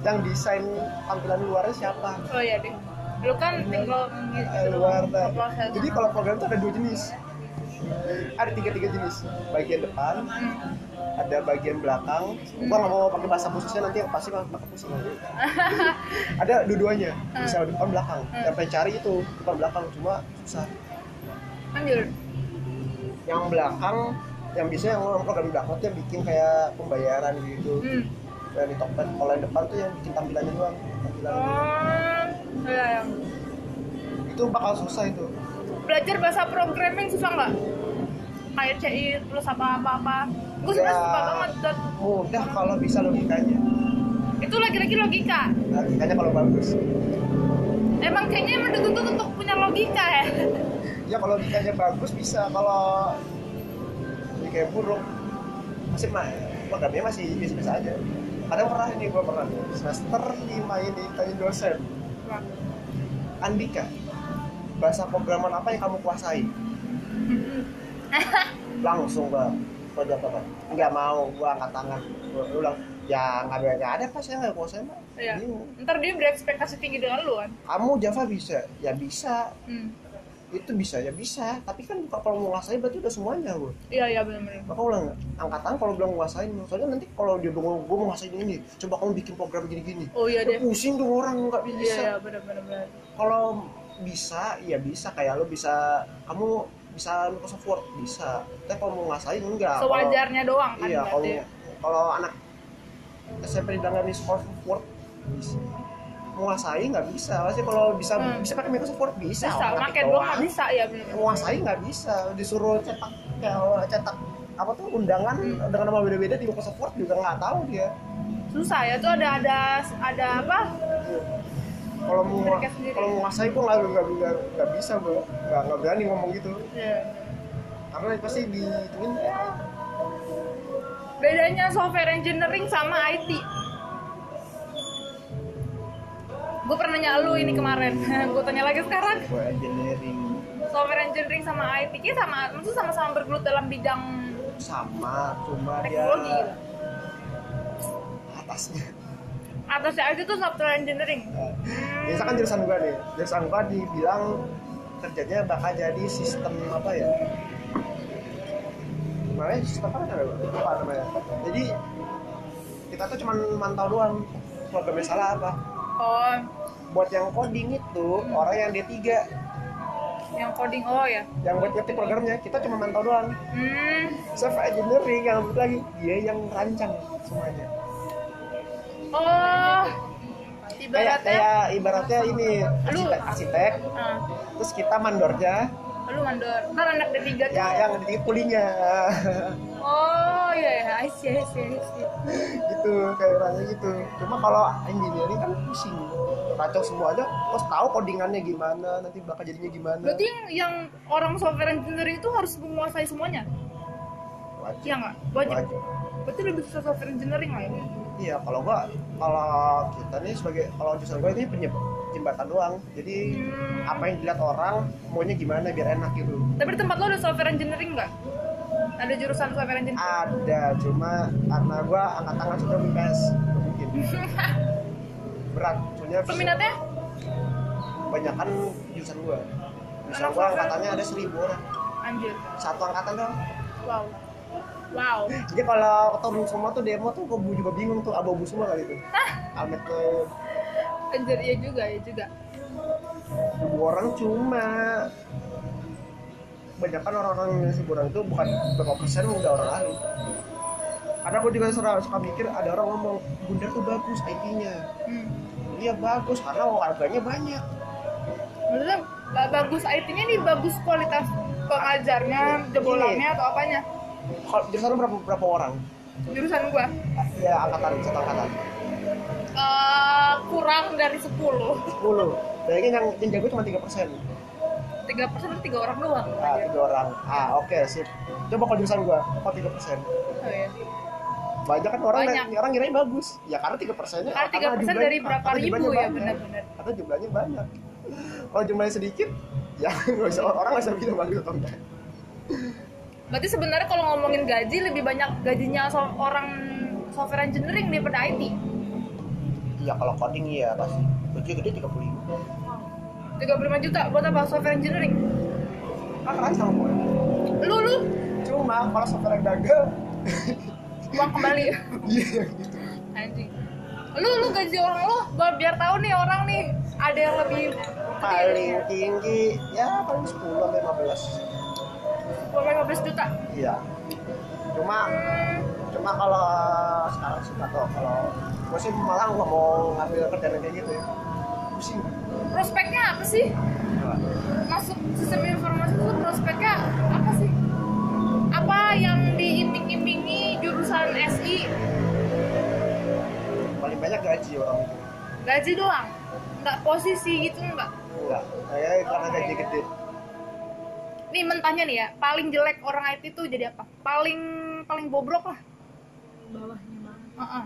C: yang desain tampilan luarnya siapa
B: Oh iya deh. Lu kan tinggal
C: Eh,
B: gitu
C: Iya. luar dah.
B: ngeproses.
C: jadi kalau program itu ada dua jenis ada tiga tiga jenis bagian depan
B: Hmm.
C: ada bagian belakang gua nggak mau pakai bahasa khususnya nanti pasti mah pakai pusing ada dua-duanya bisa depan belakang yang pengen cari itu depan belakang cuma susah
B: Lanjut.
C: yang belakang yang biasanya yang orang program belakang tuh yang bikin kayak pembayaran gitu
B: Hmm.
C: kayak di topet kalau yang depan tuh yang bikin tampilannya doang tampilan
B: Oh, iya, iya.
C: itu bakal susah itu
B: Belajar bahasa programming susah nggak? Kayak CI terus apa apa apa. Gue sebenarnya
C: Ya.
B: suka banget. Dan
C: mudah kalau bisa logikanya Nah,
B: itu lagi-lagi logika.
C: logikanya kalau bagus
B: Emang kayaknya emang dituntut untuk punya logika ya.
C: ya kalau logikanya bagus bisa kalau logikanya buruk masih mah programnya masih biasa-biasa aja kadang pernah ini gua pernah semester lima ini tanya dosen Andika bahasa programan apa yang kamu kuasai langsung bang kau jawab apa nggak mau gua angkat tangan gua gua bilang ya nggak ada nggak ada pas saya nggak kuasai mah
B: Iya.
C: Bingung.
B: Ntar dia berekspektasi tinggi dengan lu kan.
C: kamu Java bisa ya bisa
B: Hmm.
C: itu bisa ya bisa tapi kan kalau menguasai berarti udah semuanya bu
B: iya iya benar-benar
C: Maka ulang nggak? angkatan kalau bilang nguasain soalnya nanti kalau dia bilang gue menguasai ini coba kamu bikin program gini-gini
B: oh iya
C: Udah
B: deh
C: pusing tuh orang nggak
B: iya
C: bisa Nah,
B: iya benar-benar
C: kalau bisa ya bisa kayak lo bisa kamu bisa Microsoft Word bisa tapi kalau mau ngasain enggak Kalau-
B: sewajarnya doang kan
C: iya kalau
B: berarti
C: kalau anak SMP bilang nggak bisa Microsoft Word bisa menguasai nggak bisa pasti kalau bisa
B: Hmm.
C: bisa pakai Microsoft Word
B: bisa
C: bisa
B: makin
C: orang ngetik
B: doang
C: doang.
B: nggak bisa ya benar-benar
C: menguasai nggak bisa disuruh cetak kayak eh, cetak apa tuh undangan
B: Hmm.
C: dengan nama beda-beda di Microsoft Word juga nggak tahu dia
B: susah ya tuh ada ada ada apa
C: kalau mau
B: Mereka sendiri.
C: kalau menguasai gue nggak nggak nggak nggak bisa gue nggak nggak berani ngomong gitu
B: ya.
C: karena pasti dihitungin ya
B: bedanya software engineering sama IT gue pernah nanya lu ini kemarin gue tanya lagi sekarang
C: gue engineering
B: software engineering sama IT Kayaknya sama maksudnya sama-sama bergelut dalam bidang
C: sama cuma dia
B: teknologi gitu.
C: atasnya
B: atasnya IT tuh software engineering
C: ya misalkan jurusan gue nih jurusan gue dibilang kerjanya bakal jadi sistem apa ya namanya sistem apa namanya apa namanya jadi kita tuh cuman mantau doang programnya salah apa
B: oh
C: buat yang coding itu orang yang D3
B: yang coding oh ya
C: yang buat ngetik programnya kita cuma mantau doang
B: hmm
C: Chef engineering yang lebih lagi dia yang rancang semuanya
B: oh
C: kayak
B: ibaratnya
C: kayak ibaratnya ini
B: Lu-
C: arsitek, arsitek
B: Ah,
C: terus kita mandornya
B: lu mandor kan anak ketiga tuh
C: ya yang di kulinya
B: oh iya ya I see I see I see
C: gitu kayak rasanya gitu cuma kalau engineering kan pusing kacau semua aja terus tahu codingannya gimana nanti bakal jadinya gimana
B: berarti yang, yang orang software engineering itu harus menguasai semuanya
C: wajib,
B: iya nggak wajib
C: wajib.
B: berarti lebih susah software engineering lah ya
C: iya kalau gua kalau kita nih sebagai kalau jurusan gua ini penyeb- jembatan doang jadi
B: Hmm.
C: apa yang dilihat orang maunya gimana biar enak gitu
B: tapi di tempat lo ada software engineering nggak ada jurusan software engineering
C: ada cuma karena gua angkat tangan sudah UPS nggak mungkin berat soalnya
B: peminatnya
C: banyak kan jurusan gua
B: Anak kan?
C: jurusan gua
B: software.
C: angkatannya ada seribu orang
B: anjir
C: satu angkatan dong
B: wow wow
C: jadi kalau ketemu semua tuh demo tuh gua juga bingung tuh abu-abu semua kali itu Almet ke
B: anjir iya juga iya juga
C: seribu orang cuma banyak kan orang-orang yang seribu orang itu bukan berapa persen udah orang lain karena gua juga suka, suka mikir ada orang ngomong bundar tuh bagus IT-nya
B: hmm.
C: Iya bagus karena harganya banyak.
B: maksudnya ba- bagus IT-nya nih bagus kualitas pengajarnya jebolannya atau apanya
C: Kalau jurusan lu berapa berapa orang?
B: jurusan gua
C: Ya angkatan satu angkatan.
B: eh, kurang dari 10
C: Sepuluh. Bayangin yang yang jago cuma tiga persen.
B: tiga persen itu tiga orang doang
C: Ah tiga orang. Ah oke sip. Coba kalau jurusan gua, kok tiga persen?
B: Oh, iya.
C: Banyak kan orang
B: Banyak.
C: yang- orang kirain bagus. Ya karena tiga persennya.
B: Karena tiga persen dari berapa
C: ah,
B: ribu ya benar-benar.
C: Karena jumlahnya banyak. Kalau jumlahnya sedikit, ya nggak bisa orang nggak bisa bilang gitu. bagus atau enggak.
B: Berarti sebenarnya kalau ngomongin gaji lebih banyak gajinya so- orang software engineering daripada IT.
C: Iya kalau coding iya pasti. Gaji gede tiga puluh ribu.
B: 35 juta buat apa software engineering?
C: Kan rancang pokoknya.
B: Lu lu
C: Cuma kalau software yang gagal,
B: uang kembali.
C: iya gitu.
B: Anjing. Lu lu gaji orang lu buat biar tahu nih orang nih ada yang lebih
C: paling tinggi ya paling 10 sampai 15
B: Gua 15 juta.
C: iya cuma cuma kalau eh, sekarang suka tuh kalau gue sih malah nggak mau ngambil kerjaan yang kayak gitu ya pusing
B: Prospeknya apa sih? masuk sistem informasi itu prospeknya apa sih? Apa yang diiming-imingi jurusan SI?
C: paling banyak gaji orang itu
B: Gaji doang? Nggak posisi gitu nggak?
C: enggak saya karena gaji gede
B: Nih mentahnya nih ya, paling jelek orang IT tuh jadi apa? Paling paling bobrok lah.
A: Bawahnya banget.
B: Heeh.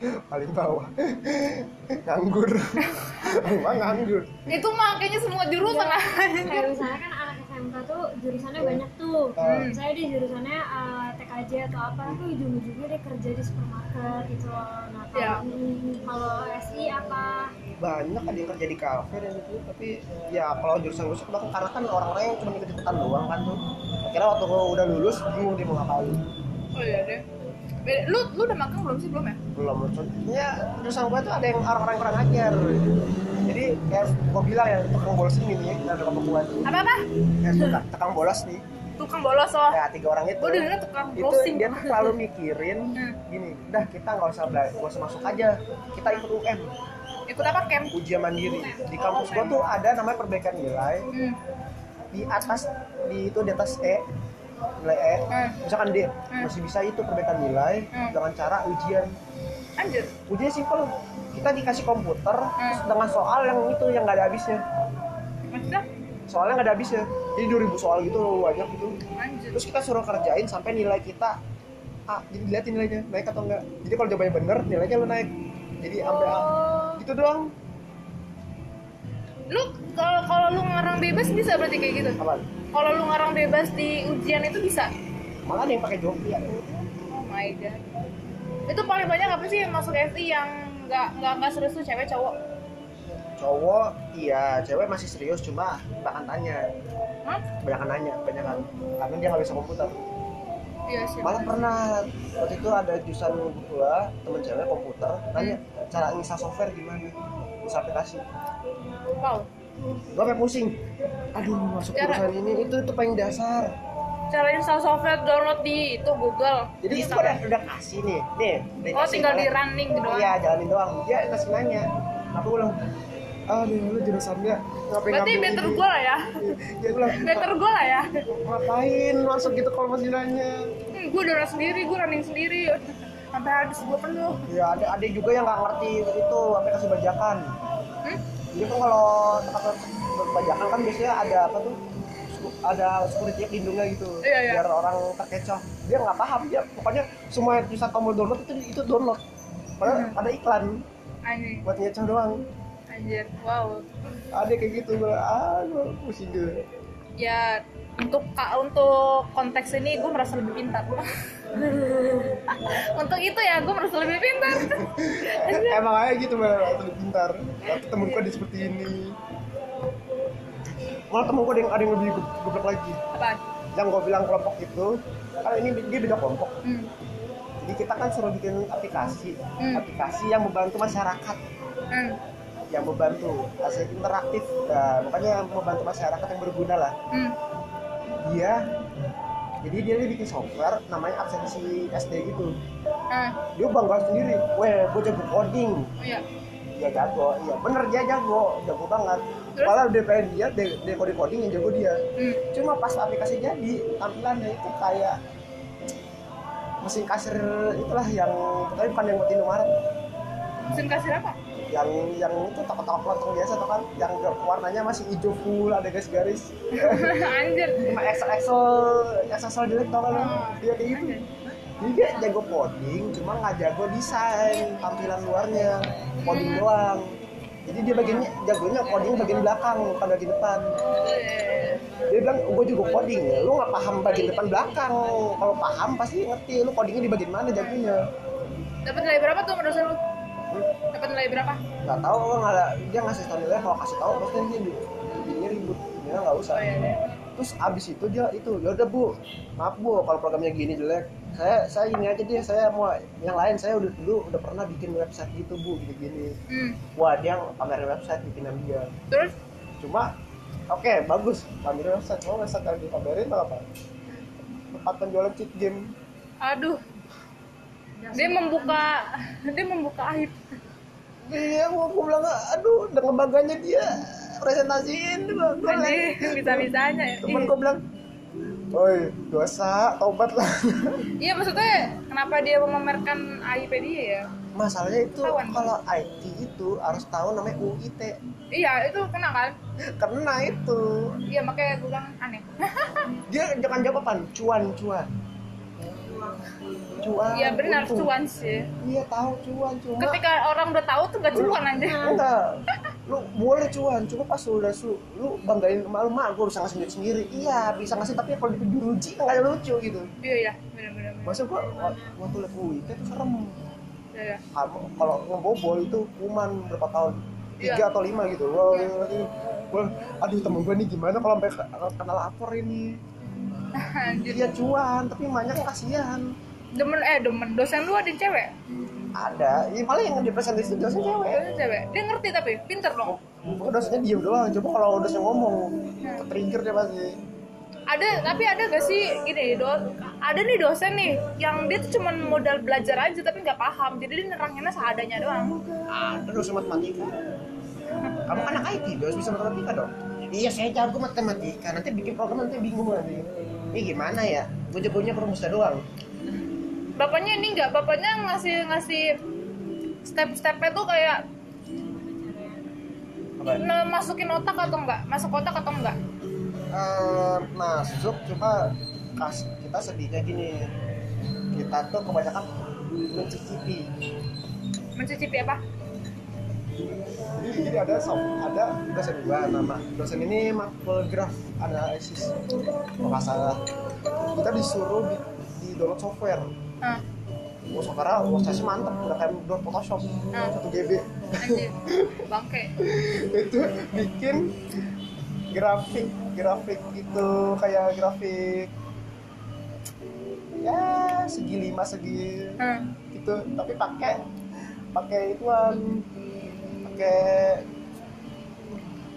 C: paling bawah nganggur emang nganggur
B: Itu mah kayaknya semua jurusan lah.
A: Iya.
E: kayak misalnya kan anak SMK tuh jurusannya banyak tuh
C: Hmm.
E: saya di jurusannya eh, TK
A: aja atau apa tuh ujung-ujungnya dia kerja di supermarket gitu loh nah kalau
B: Ya.
A: kalau SI apa
C: banyak ada yang kerja di kafe dan gitu tapi ya kalau jurusan gue sih kenapa? karena kan orang-orang yang cuma ikut ikutan doang kan tuh akhirnya waktu gue udah lulus bingung dia mau ngapain
B: oh iya deh Beda- lu lu udah makan belum sih belum ya
C: belum contohnya jurusan gue tuh ada yang orang-orang kurang ajar jadi kayak gue bilang yang tukang bolos ini nih yang ada kamu kuat
B: apa apa
C: yang tukang, tukang bolos nih
B: tukang bolos oh
C: ya tiga orang itu
B: Gua dengernya tukang
C: itu
B: browsing.
C: dia tuh selalu mikirin
B: Hmm.
C: gini udah kita nggak usah bela- nggak usah masuk aja kita ikut UM
B: ikut apa camp
C: ujian mandiri di kampus gua tuh ada namanya perbaikan nilai
B: hmm.
C: di atas di itu di atas E nilai E
B: Hmm.
C: misalkan D
B: Hmm.
C: masih bisa itu perbaikan nilai
B: Hmm.
C: dengan cara ujian
B: anjir
C: ujian simpel kita dikasih komputer
B: Eh.
C: terus dengan soal yang itu yang nggak ada habisnya
B: maksudnya
C: soalnya nggak ada habisnya jadi 2000 soal gitu loh banyak gitu
B: anjir
C: terus kita suruh kerjain sampai nilai kita A jadi diliatin nilainya naik atau enggak jadi kalau jawabannya bener nilainya lu naik jadi sampai A gitu doang
B: lu kalau kalau lu ngarang bebas bisa berarti kayak gitu
C: apaan
B: kalau lu ngarang bebas di ujian itu bisa
C: malah ada yang pakai joki ya
B: oh my god itu paling banyak apa sih yang masuk SI yang nggak nggak nggak serius tuh cewek cowok
C: cowok iya cewek masih serius cuma bahkan tanya
B: Hah?
C: kebanyakan nanya kebanyakan karena dia nggak bisa komputer
B: iya sih
C: malah pernah waktu itu ada jurusan gua temen cewek komputer nanya cara install software gimana install aplikasi
B: wow
C: gua sampai pusing aduh masuk
B: Cara-
C: jurusan ini itu itu paling dasar
B: cara install software download di itu Google ya?
C: jadi itu
B: Install.
C: udah, udah kasih nih nih udah
B: oh
C: kasih,
B: tinggal di
C: malah-
B: running gitu doang
C: iya jalanin doang dia kasih nanya aku ulang aduh lu jurusannya ngapain
B: berarti
C: ngambil
B: better
C: ini?"
B: gue lah ya
C: dia bilang
B: better gue lah ya
C: ngapain masuk gitu kalau masih nanya
B: hmm, gue download sendiri gue running sendiri sampai habis gue penuh
C: Ya ada ada juga yang nggak ngerti itu sampai kasih bajakan.
B: hmm?
C: Jadi kan kalau tempat bajakan kan biasanya ada apa tuh? ada security lindungnya gitu
B: Iya, iya.
C: biar orang terkecoh dia nggak paham dia pokoknya semua yang bisa tombol download itu itu download padahal
B: Hmm.
C: ada iklan
B: anjir
C: buat ngecoh doang
B: anjir wow
C: ada kayak gitu gue aduh pusing gue
B: ya untuk ka- untuk konteks ini gue merasa lebih pintar untuk itu ya gue merasa lebih pintar
C: emang aja gitu malah terlalu pintar Tapi temen gue di seperti ini malah temen gue ada yang ada yang lebih ge- geblek lagi
B: apa
C: yang gue bilang kelompok itu kan ini dia beda kelompok
B: hmm.
C: jadi kita kan suruh bikin aplikasi
B: Hmm.
C: aplikasi yang membantu masyarakat
B: Hmm.
C: yang membantu hasil interaktif nah, makanya yang membantu masyarakat yang berguna lah
B: Hmm.
C: dia jadi dia ini bikin software namanya absensi SD gitu
B: Ah,
C: dia bangga sendiri weh gue jago coding
B: oh iya.
C: dia jago iya bener dia jago jago banget
B: Terus?
C: malah dia pengen dia dia, dia coding coding yang jago dia
B: Hmm.
C: cuma pas aplikasi jadi tampilannya itu kayak mesin kasir itulah yang tapi bukan yang buat Indomaret
B: Mesin kasir apa?
C: yang yang itu toko-toko kelontong biasa tuh kan yang warnanya masih hijau full ada garis-garis
B: Anjir.
C: cuma excel excel excel jelek tau kan lu? dia kayak gitu
B: Anjir.
C: jadi dia jago coding cuma nggak jago desain tampilan luarnya coding doang jadi dia bagiannya jagonya coding bagian belakang bukan bagian depan
B: Eh,
C: dia bilang gue juga coding ya lu nggak paham bagian depan belakang kalau paham pasti ngerti lu codingnya di bagian mana jagonya
B: Dapat nilai berapa tuh menurut lu?
C: Hmm,
B: Dapat nilai berapa?
C: nggak tahu lu nggak ada- dia ngasih tau nilai kalau kasih tahu pasti dia dia ribut dia nggak usah
B: Oh iya. iya.
C: terus abis itu dia itu ya udah bu maaf bu kalau programnya gini jelek saya saya ini aja deh saya mau yang lain saya udah dulu udah pernah bikin website gitu bu gini gini
B: Hmm.
C: wah dia pamerin website bikinan dia
B: Terus
C: cuma oke bagus pamerin website mau website yang dipamerin tuh apa tempat penjualan cheat game
B: aduh. Dia membuka dia membuka aib.
C: dia Iya, gua, gua bilang aduh dengan bangganya dia presentasiin gua, gua
B: Anjir, bisa-bisanya ya.
C: temen gua bilang oi dosa taubat lah
B: Iya, maksudnya kenapa dia memamerkan aib dia ya?
C: masalahnya itu
B: Ketahuan.
C: kalau IT itu harus tahu namanya UIT
B: Iya, itu kena kan?
C: karena itu
B: Iya, makanya gue bilang aneh.
C: dia jangan jawaban cuan cuan cuan
B: Iya, benar
C: untung.
B: cuan sih.
C: iya tahu cuan cuma
B: Ketika orang udah tahu tuh gak cuan anjir.
C: Iya, enggak lu boleh cuan cuma pas lu udah su lu banggain emak lu mak gue bisa ngasih duit sendiri iya bisa ngasih tapi kalau dipuji nggak ada lucu gitu
B: iya iya benar-benar
C: masa gua wa- waktu liat itu serem
B: iya iya.
C: Ah, kalau ngebobol itu kuman berapa tahun tiga
B: Iya.
C: atau lima gitu wah wah aduh temen gue nih gimana kalau sampai ke- kena lapor ini
B: Anjir.
C: dia cuan tapi emaknya kan kasihan
B: demen eh demen dosen lu ada yang cewek
C: ada ya, paling yang dipresentasi itu dosen cewek
B: dosen cewek dia ngerti tapi pinter dong
C: Pokoknya dosennya diem doang coba kalau dosen ngomong trigger dia pasti
B: ada tapi ada gak sih gini do, ada nih dosen nih yang dia tuh cuman modal belajar aja tapi nggak paham jadi dia neranginnya seadanya doang
C: ada dosen matematika kamu kan anak IT harus bisa matematika dong iya saya jago matematika nanti bikin program nanti bingung nanti ini gimana ya gue jagonya perumusnya doang
B: bapaknya ini nggak bapaknya ngasih ngasih step-stepnya tuh kayak
C: apa
B: nah, masukin otak atau enggak masuk otak atau enggak
C: Eh, masuk cuma kas kita sedihnya gini kita tuh kebanyakan mencicipi
B: mencicipi apa
C: jadi, jadi ada sob, ada dosen dua nama dosen ini makul graph analisis kalau nggak salah kita disuruh di, di download software Oh,
B: Nah,
C: Wah, sekarang prosesnya mantep, udah kayak download Photoshop
B: Ah.
C: satu GB
B: anjir bangke
C: itu bikin grafik grafik itu kayak grafik ya segi lima segi
B: Nah,
C: gitu tapi pakai pakai ituan pakai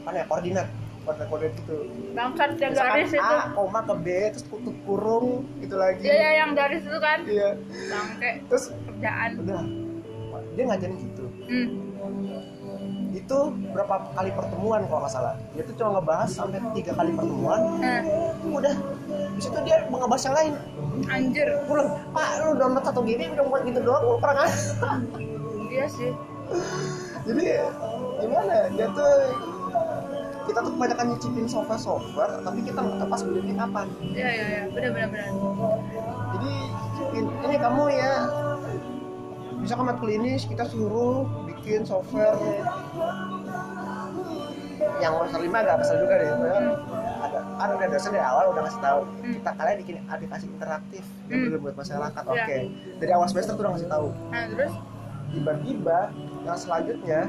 C: apa ya koordinat koordinat koordinat gitu
B: bangsat yang
C: misalkan
B: garis itu
C: A koma ke B terus tutup kurung gitu lagi
B: dia yang garis itu kan
C: iya
B: bangke
C: terus
B: kerjaan
C: udah dia ngajarin gitu
B: hmm.
C: itu berapa kali pertemuan kalau nggak salah dia tuh cuma ngebahas sampai tiga kali pertemuan
B: Nah,
C: udah di situ dia mau ngebahas yang lain
B: anjir
C: gue bilang, pak lu download satu GB udah buat gitu doang lu pernah nggak?"
B: iya sih
C: jadi gimana ya? dia tuh kita tuh kebanyakan nyicipin software software tapi kita nggak tahu pas belinya kapan
B: iya iya iya benar benar benar
C: jadi in- ini kamu ya bisa ke klinis kita suruh bikin software yang semester lima agak kesel juga deh ya." soalnya ada kan udah dosen dari awal udah ngasih tahu
B: Hmm.
C: kita kalian bikin aplikasi interaktif yang
B: Hmm.
C: bener buat masyarakat oke
B: Iya.
C: dari awal semester tuh udah ngasih tahu
B: nah terus
C: tiba-tiba yang selanjutnya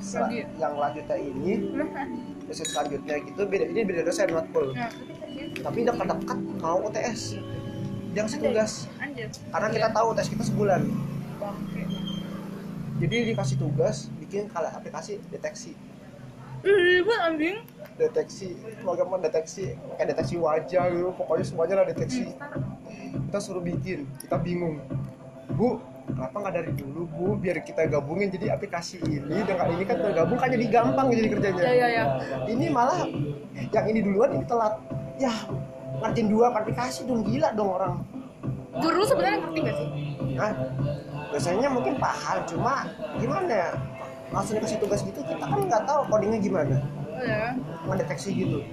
C: sel-
B: Lanjut.
C: yang lanjutnya ini dosen selanjutnya gitu beda ini beda dosen matkul
B: Nah,
C: tapi dekat-dekat mau UTS dia ngasih tugas
B: anjir
C: karena kita
B: Iya.
C: tahu tes kita sebulan
B: bangke
C: jadi dikasih tugas bikin kalau aplikasi deteksi
B: Ih, ribet anjing
C: deteksi program mendeteksi kayak deteksi wajah gitu pokoknya semuanya lah deteksi kita suruh bikin kita bingung bu kenapa nggak dari dulu bu biar kita gabungin jadi aplikasi ini dengan ini kan tergabung kan jadi gampang jadi kerjanya
B: Iya, iya, iya.
C: ini malah yang ini duluan ini telat ya ngertiin dua aplikasi dong gila dong orang
B: guru sebenarnya ngerti gak sih
C: Nah, biasanya mungkin paham, cuma gimana ya? Langsung dikasih tugas gitu, kita kan nggak tahu codingnya gimana.
B: oh ya
C: Mendeteksi gitu.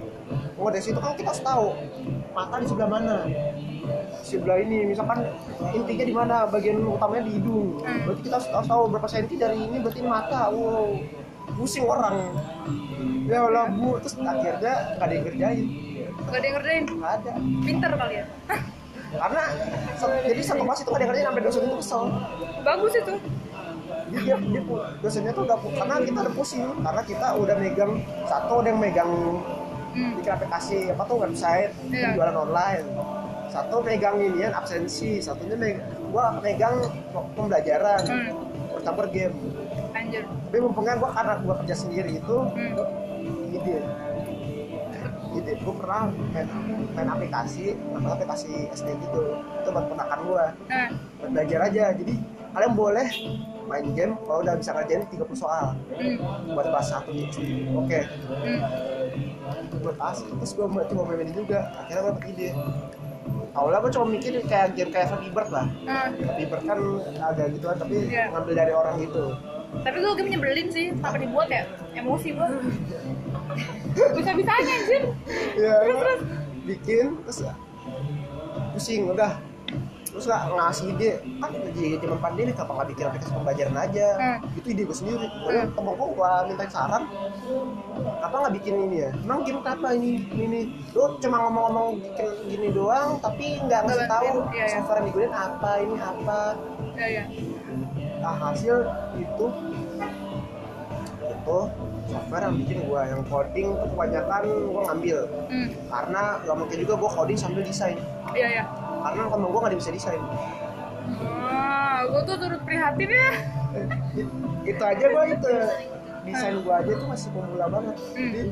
C: Mendeteksi itu kan kita harus tahu mata di sebelah mana. Sebelah ini, misalkan intinya di mana, bagian utamanya di hidung.
B: Hmm.
C: Berarti kita harus harus tahu berapa senti dari ini, berarti ini mata. Wow, pusing orang. Ya Allah, bu. Terus akhirnya nggak ada yang kerjain.
B: gak ada yang ngerjain
C: Nggak ada.
B: pinter kali ya Hah,
C: Karena, se- jadi satu kelas itu nggak ada yang kerjain, sampai dosen itu kesel.
B: bagus itu
C: Jadi dia, dia pu- dosennya tuh gak pu- karena kita udah pusing karena kita udah megang satu ada yang megang
B: hmm.
C: bikin aplikasi apa tuh website
B: Iya.
C: jualan online satu megang inian absensi satunya meg- gua megang pembelajaran
B: Hmm.
C: bercampur game
B: anjir
C: tapi mumpungnya gua karena gua kerja sendiri itu
B: hmm.
C: ide ide gua pernah main, main aplikasi namanya aplikasi SD gitu itu buat ponakan gua
B: nah
C: buat belajar aja jadi kalian boleh main game kalau udah bisa ngerjain 30 soal
B: hmm.
C: buat kelas 1 di SD. Oke,
B: Hmm.
C: buat kelas terus gue coba mainin juga. Akhirnya gue dapet ide. Awalnya gue cuma mikir kayak game kayak Flappy Bird lah.
B: Nah,
C: Flappy Bird kan ada gitu kan, tapi
B: Iya.
C: ngambil dari orang gitu.
B: tapi gue game nyebelin sih kenapa dibuat ya emosi gue bisa-bisanya anjir
C: kan? Iya. bikin terus pusing ya, udah terus nggak ngasih ide kan di zaman pandemi kenapa nggak bikin aplikasi pembelajaran aja
B: Hmm.
C: itu ide gue sendiri Gua temen gue gua minta saran apa nggak bikin ini ya emang game apa ini ini, ini lu cuma ngomong-ngomong bikin gini doang tapi nggak ngasih
B: Nggak
C: tahu
B: bantuin, iya, iya.
C: software yang digunain apa ini apa
B: ya ya
C: nah, hasil itu itu software yang bikin gua yang coding tuh kebanyakan gua ngambil
B: hmm.
C: karena nggak mungkin juga gua coding sambil desain
B: ya ya
C: karena temen gua nggak ada yang bisa desain
B: ah gue tuh turut prihatin ya
C: It- itu aja gua itu desain gua aja itu masih pemula banget
B: Hmm.
C: jadi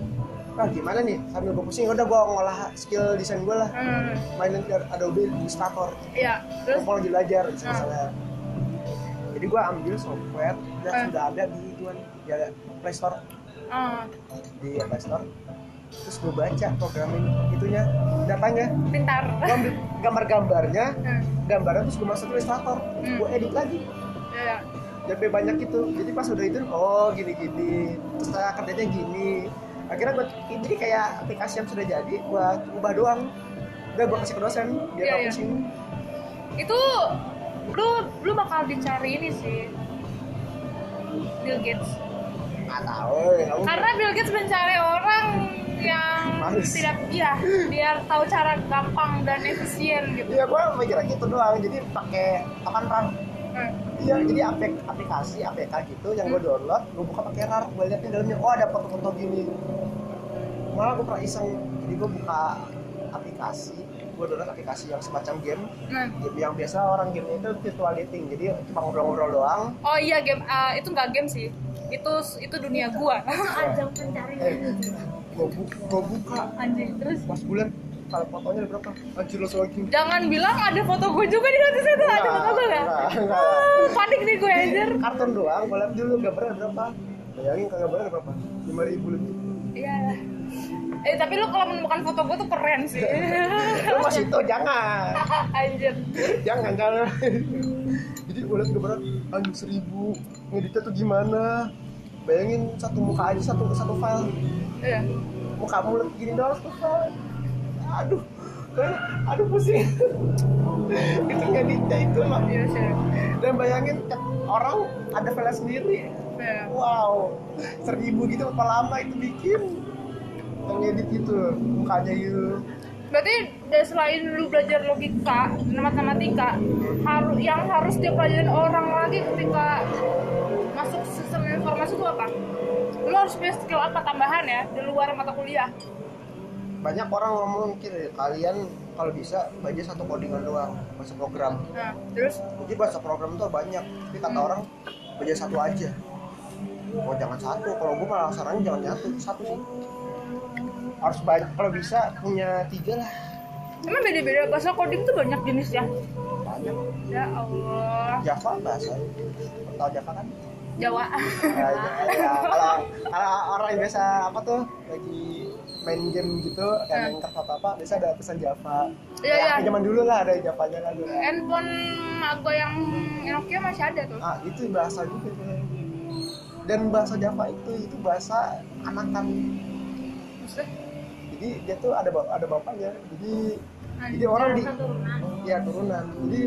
C: ah gimana nih sambil gua pusing udah gua ngolah skill desain gua lah
B: hmm.
C: mainin Ad- Adobe Illustrator
B: ya terus
C: terus lagi belajar misalnya,
B: Ah.
C: misalnya. jadi gua ambil software yang
B: Ah.
C: sudah ada di tuan ya Play Store
B: ah
C: di Play Store terus gue baca programin itunya datanya
B: pintar
C: gue ambil gambar-gambarnya
B: Hmm.
C: gambarnya terus gue masukin Illustrator
B: Hmm.
C: gue edit lagi
B: ya ya
C: sampai banyak itu jadi pas udah itu oh gini-gini terus saya kerjanya gini akhirnya gue jadi kayak aplikasi yang sudah jadi gue ubah doang udah gue kasih ke dosen
B: Iya,
C: biar yeah,
B: iya.
C: pusing
B: itu lu lu bakal dicari ini sih Bill Gates
C: nggak tahu ya udah.
B: karena Bill Gates mencari orang yang
C: Males.
B: tidak iya biar tahu cara gampang dan efisien gitu
C: Iya, gue mikirnya gitu doang. Jadi pakai apa rang?
B: Hmm.
C: Iya, jadi aplik- aplikasi APK gitu yang gue download, gue buka pakai RAR, gue liatin dalamnya, oh ada foto-foto gini. Malah gue pernah iseng, jadi gue buka aplikasi, gue download aplikasi yang semacam game,
B: Nah.
C: game yang biasa orang game itu virtual dating, jadi cuma ngobrol-ngobrol doang.
B: oh iya game ah, itu nggak game sih itu itu dunia gua
A: ajang Ah, pencarian
C: Eh, gue buka,
B: anjing terus
C: pas bulan, kalau fotonya ada berapa? Anjir lo lagi.
B: jangan bilang ada foto gua juga di notis itu
C: Iya,
B: ada foto gua nggak
C: Enggak, enggak.
B: Ah, panik nih gue anjir
C: kartun doang, gue liat dulu gambarnya berapa. Bayangin kalau gambarnya berapa? 5.000 lebih.
B: iya eh tapi lu kalau menemukan foto gua tuh keren sih Ah,
C: lu masih itu jangan
B: anjir
C: jangan jangan jadi gue liat gambarnya anjing seribu ngeditnya tuh gimana bayangin satu muka aja satu satu file
B: Iya.
C: muka mulut gini doang satu file aduh kan- aduh pusing itu ngeditnya itu loh
B: iya sih
C: dan bayangin tiap orang ada file sendiri
B: Iya.
C: wow seribu gitu berapa lama itu bikin yang ngedit gitu mukanya gitu
B: Berarti dari selain lu belajar logika dan matematika, haru- yang harus dia pelajarin orang lagi ketika masuk sistem informasi itu apa? Lu harus punya skill apa tambahan ya di luar mata kuliah?
C: banyak orang ngomong kiri kalian kalau bisa baca satu codingan doang bahasa program
B: Nah, terus
C: jadi bahasa program tuh banyak tapi kata
B: Hmm.
C: orang baca satu aja oh jangan satu kalau gue malah sarannya jangan satu satu sih harus banyak kalau bisa punya tiga lah
B: emang beda-beda bahasa coding tuh banyak jenis ya?
C: banyak
B: Ya Allah,
C: Java bahasa tahu Java kan
B: Jawa.
C: Ya, ya, kalau kalau orang yang biasa apa tuh lagi main game gitu kayak main kertas apa apa biasa ada pesan Java
B: Hmm. Iya, iya.
C: ya, zaman dulu lah ada Javanya lah dulu.
B: Handphone aku yang Nokia masih ada tuh.
C: Ah, itu bahasa juga itu. Dan bahasa Java itu itu bahasa anakan.
B: Maksudnya?
C: Jadi dia tuh ada ba- ada bapaknya. Jadi jadi orang di
A: turunan
C: ya turunan. Jadi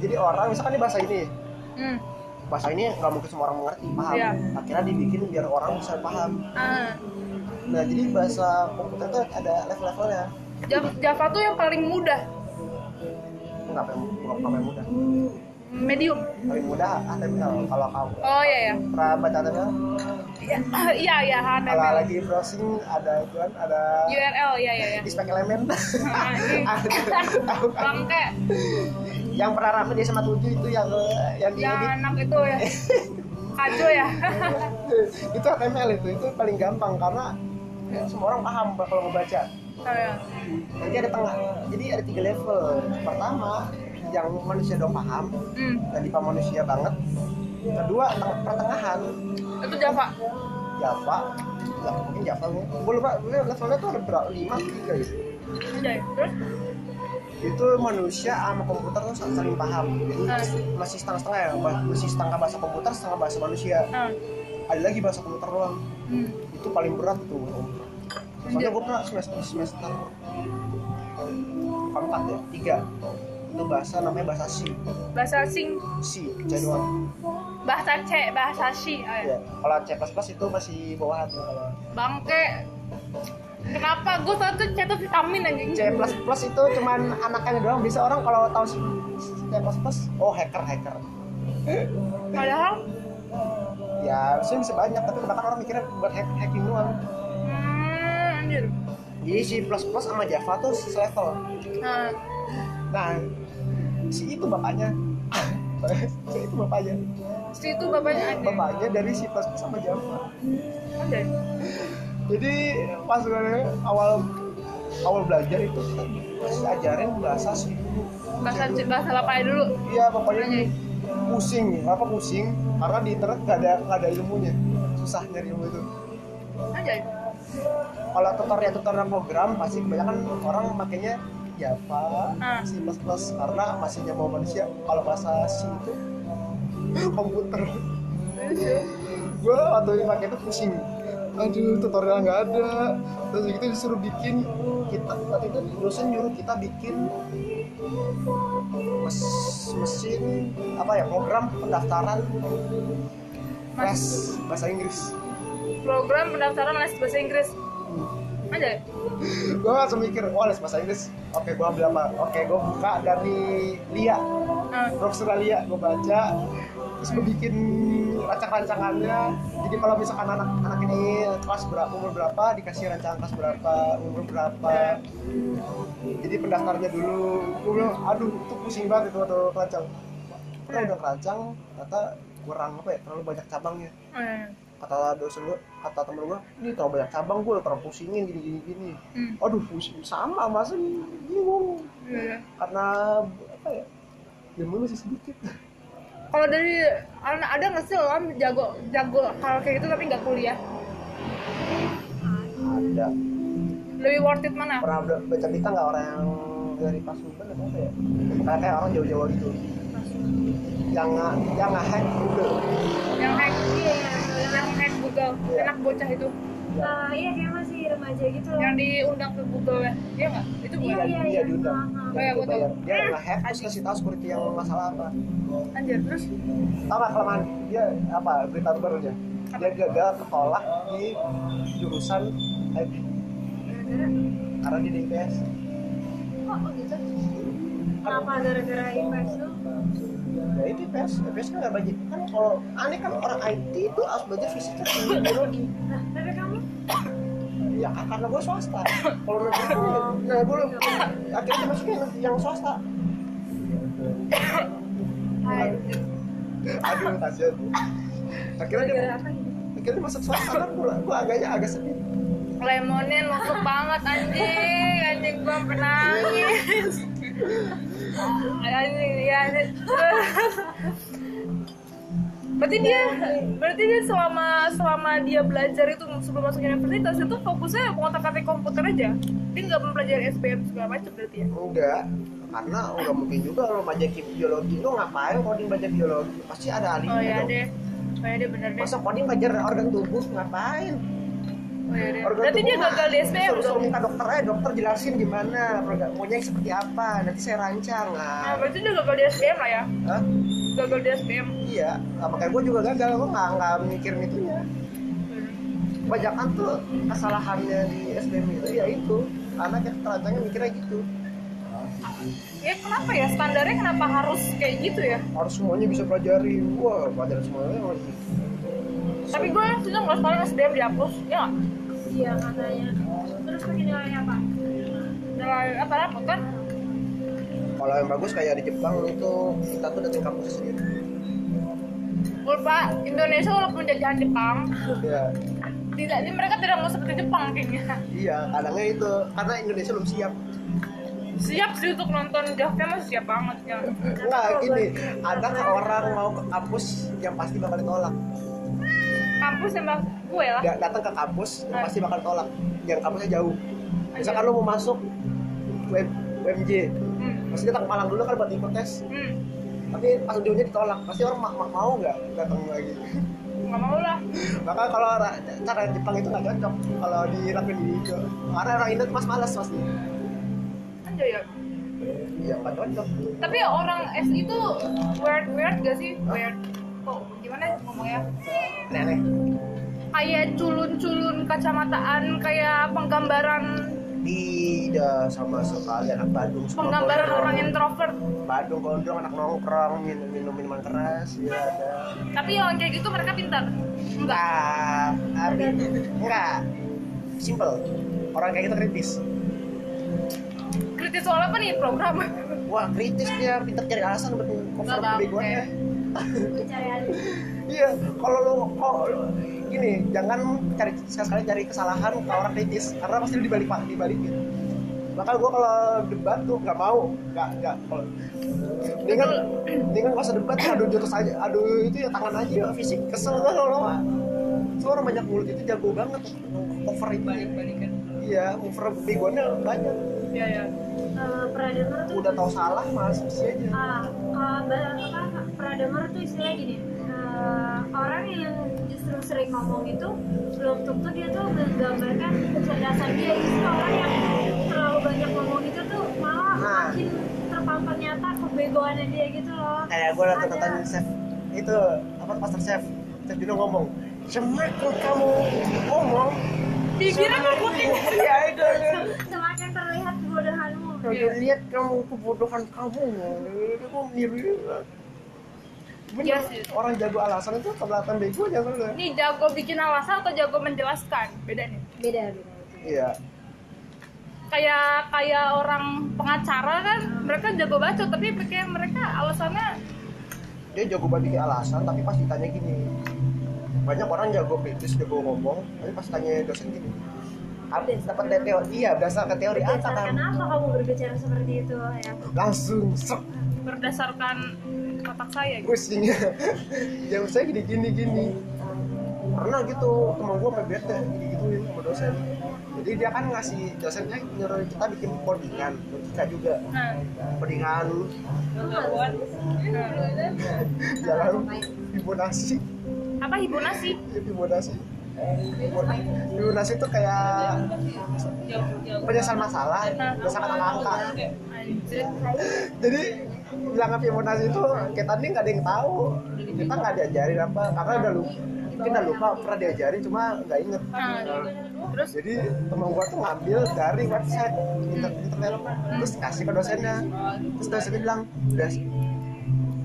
C: jadi orang misalkan ini bahasa ini
B: Hmm.
C: bahasa ini nggak mungkin semua orang mengerti paham
B: Iya.
C: akhirnya dibikin biar orang bisa paham
B: Ah.
C: nah jadi bahasa komputer tuh ada level-levelnya
B: Jav- Java tuh yang paling mudah,
C: nggak pakai nggak pakai mudah
B: medium.
C: paling mudah HTML kalau kamu
B: Oh iya ya.
C: pernah baca HTML
B: Iya, iya, iya,
C: kalau
B: HTML.
C: lagi browsing ada tuan ada
B: URL, iya, iya, iya.
C: Ispek elemen
B: Anjing. Bangke,
C: yang pernah rame dia sama tujuh itu yang yang di
B: yang anak itu ya. Kajo ya.
C: itu HTML itu itu paling gampang karena ya, semua orang paham kalau ngebaca
B: Oh, iya.
C: nanti ada tengah jadi ada tiga level pertama yang manusia dong paham
B: Hmm,
C: dan dipaham manusia banget kedua teng- pertengahan
B: itu Java.
C: Java ya, mungkin Java gue lupa levelnya tuh ada berapa lima atau tiga gitu
B: Udah ya. Terus?
C: itu manusia sama komputer tuh saling paham jadi masih setengah-setengah ya ba- masih setengah bahasa komputer setengah bahasa manusia
B: Ah,
C: ada lagi bahasa komputer doang
B: hmm.
C: itu paling berat tuh soalnya gue pernah semester semester keempat ya tiga itu bahasa namanya bahasa si
B: bahasa asing
C: si C doang
B: bahasa C bahasa eh, si ayo.
C: ya kalau C itu masih bawahan kalau
B: bangke kenapa gue tau tuh catat vitamin anjing
C: C itu cuman anaknya doang bisa orang kalau tahu si- C oh hacker hacker
B: padahal
C: ya sih bisa banyak tapi kebanyakan orang mikirnya buat hack- hacking doang
B: hmm, anjir
C: jadi si plus plus sama Java tuh selevel
B: nah
C: nah si itu bapaknya si itu bapaknya
B: si itu bapaknya anjir
C: bapaknya dari si plus plus sama Java
B: anjir
C: jadi pas gue awal awal belajar itu kita ajarin bahasa sih
B: bahasa bahasa bapaknya dulu
C: iya pokoknya pusing apa pusing karena di internet nggak ada nggak ada ilmunya susah nyari ilmu itu
B: anjir
C: kalau tutorial tutorial program pasti kebanyakan orang makainya Java,
B: Ah.
C: C++ karena masih mau manusia kalau bahasa C itu komputer gue waktu ini pakai itu pusing aduh tutorial nggak ada terus gitu disuruh bikin kita waktu itu dosen nyuruh kita bikin mes- mesin apa ya program pendaftaran les bahasa Inggris
B: program pendaftaran les bahasa Inggris anjir
C: gue langsung mikir wah les bahasa Inggris oke gue ambil apa oke gue buka dari Lia
B: nah,
C: Roxura Lia gue baca terus gue bikin rancang-rancangannya jadi kalau misalkan anak anak ini kelas berapa umur berapa dikasih rancangan kelas berapa umur berapa jadi pendaftarnya dulu gue bilang aduh itu pusing banget itu waktu rancang Karena udah rancang ternyata kurang apa ya terlalu banyak cabangnya
B: eh,
C: kata dosen gue kata temen gue ini terlalu banyak cabang gue terlalu pusingin gini gini gini
B: hmm,
C: aduh pusing sama masa bingung
B: iya, iya.
C: karena apa ya ilmu masih sedikit
B: kalau dari ada ada nggak sih orang jago jago hal kayak gitu tapi nggak kuliah
C: ada
B: lebih worth it mana
C: pernah be- baca berita nggak orang yang dari Pasukan atau apa ya kayak kayak orang jauh-jauh gitu yang nggak yang nggak hack Google
B: yang hack yang hack Google
C: Iya.
B: anak bocah itu
A: Eh, iya kayak masih remaja gitu loh
B: yang diundang ke Google ya iya nggak itu bukan
A: Iya,
C: dia
A: iya,
C: dia
A: iya.
C: diundang
A: Ah,
B: ah.
C: yang
B: Oh, iya, gua
C: dibayar
B: tahu.
C: dia nggak hack terus kasih tahu security yang masalah apa
B: anjir terus
C: tau nggak kelemahan dia apa berita terbarunya dia gagal ketolak di jurusan IT
A: gara-gara
C: karena dia di IPS
A: kok oh, gitu kenapa gara-gara IPS tuh
C: Ya itu IPS, IPS kan nggak belajar kan kalau aneh kan orang IT itu harus belajar fisika kimia biologi.
A: nah tapi kamu
C: Ya karena gue swasta. Kalau negeri itu, nah gue akhirnya masuknya yang- yang swasta.
A: Aduh.
C: Aduh kasihan. Akhirnya dia
A: gara-gara apa gitu
C: akhirnya masuk swasta kan gue gue agaknya agak sedih.
B: lemonnya nusuk banget anjing anjing gua sampe nangis anjing ya anjing berarti dia berarti dia selama selama dia belajar itu sebelum masuk universitas itu fokusnya mengotak-atik komputer aja dia nggak mempelajari SPM segala macam berarti ya
C: Enggak, karena nggak mungkin juga lo belajar kimia biologi lo ngapain coding belajar biologi pasti ada ahlinya
B: oh ya
C: dong.
B: deh oh ya deh bener deh
C: Masa coding belajar organ tubuh ngapain?
B: oh ya deh
C: Organ
B: berarti dia
C: tubuh mah
B: gagal di SPM
C: suruh, suruh
B: dong
C: minta dokter eh dokter jelasin gimana program maunya yang seperti apa nanti saya rancang
B: nah
C: lah
B: berarti dia gagal di SPM lah ya
C: Hah?
B: gagal di SPM
C: iya nah, makanya gue juga gagal gue nggak nggak mikirin itunya kebanyakan tuh kesalahannya di SBM itu ya itu karena kita terancangnya mikirnya gitu
B: ya kenapa ya standarnya kenapa harus kayak gitu ya
C: harus semuanya bisa pelajarin wah pelajaran semuanya harus
B: tapi gue setuju nggak sekarang SBM dihapus ya nggak?
A: iya katanya terus pakai nilai apa
B: nilai apa rapot kan
C: kalau yang bagus kayak di Jepang itu kita tuh datang kampusnya sendiri
B: gue lupa Indonesia walaupun jajahan Jepang
C: ya
B: tidak ini mereka tidak mau seperti Jepang kayaknya
C: iya kadangnya itu karena Indonesia belum siap
B: siap sih untuk nonton Jaffe masih siap banget ya
C: Enggak, gini, ada nggak orang mau ke kampus yang pasti bakal ditolak.
B: kampus sama gue lah
C: Nggak datang ke kampus yang pasti bakal ditolak. Yang kampusnya jauh. Misalkan
B: Aja.
C: lu mau masuk UM, UMJ,
B: hmm.
C: pasti datang ke Malang dulu kan buat ikut tes.
B: hmm.
C: Tapi pas ujungnya ditolak, pasti orang ma- ma- mau nggak datang lagi.
B: nggak mau lah
C: Maka kalau ra- cara Jepang itu nggak cocok kalau dilakuin di Indo. Karena orang Indo tuh mas malas pasti.
B: aja ya
C: ya nggak cocok
B: Tapi orang S itu weird weird gak sih? Weird. Kok gimana ngomongnya?
C: aneh-aneh
B: Kayak culun-culun kacamataan, kayak penggambaran
C: tidak sama sekali anak Bandung semua
B: penggambaran
C: gondrong.
B: orang introvert.
C: Bandung gondrong anak nongkrong minum minum minuman keras ya ada
B: Tapi yang kayak gitu mereka pintar. Enggak.
C: enggak tapi enggak simple orang kayak gitu kritis
B: Kritis soal apa nih program?
C: wah kritis dia pintar cari alasan buat cover
B: Nggak tahu,
C: kebegoannya
B: kayak-
A: Cari alih.
C: iya kalau lo kok gini jangan cari sekali cari kesalahan ke orang kritis karena pasti lo dibalik dibalikin maka gue kalau debat tuh nggak mau nggak nggak kalau ini kan ini kan usah debat adu jurus aja adu itu ya tangan aja ya, fisik kesel gue lo lo Soalnya orang banyak mulut itu jago banget cover itu
B: Balik-balikan.
C: iya cover begonya banyak
B: Iya, iya.
A: Eh, predator tuh
C: udah tahu salah malas sih aja
A: ah, ah, ba- apa, predator tuh istilahnya gini eh, orang yang justru sering ngomong itu belum tentu dia tuh menggambarkan kecerdasan dia justru orang yang terlalu banyak ngomong itu tuh malah
C: Nah.
A: makin terpampang nyata kebegoannya dia gitu loh
C: kayak gue liat
A: Ada.
C: catatan chef itu apa pastor chef chef Dino ngomong semakin kamu ngomong
B: Bibirnya ngikutin.
C: iya itu
A: semakin terlihat kebodohanmu
C: kalau lihat kamu kebodohan kamu kamu meniru
B: Iya
C: Bener,
B: sih.
C: orang jago alasan itu kan? kelihatan bego aja soalnya.
B: Ini jago bikin alasan atau jago menjelaskan? Beda nih.
A: beda beda
C: Iya.
B: kayak kayak orang pengacara kan mereka jago baca tapi kayak mereka alasannya
C: Dia jago banget bikin alasan, tapi pas ditanya gini. Banyak orang jago kritis, jago ngomong, tapi pas tanya dosen gini. Apa dapat dari teori? Iya, berdasarkan teori apa
A: berdasarkan
C: kamu?
A: apa kamu berbicara seperti itu ya
C: Langsung sok
B: berdasarkan otak saya gitu.
C: pusingnya jam saya gini gini gini pernah gitu temen gue sampai bete gituin sama dosen jadi dia kan ngasih dosennya nyuruh kita bikin codingan logika juga
B: Nah,
C: codingan
B: buat
C: jalan Fibonacci
B: apa hibernasi?
C: ya Fibonacci Fibonacci Fibonacci itu kayak penyelesaian masalah berdasarkan angka
B: Anjir.
C: jadi bilangan Fibonacci itu kita nih nggak ada yang tahu kita nggak diajarin apa karena udah lupa mungkin udah lupa pernah diajarin cuma nggak inget
B: Nah, terus
C: jadi teman gua tuh ngambil dari website inter- internet terus kasih ke dosennya terus dosennya bilang udah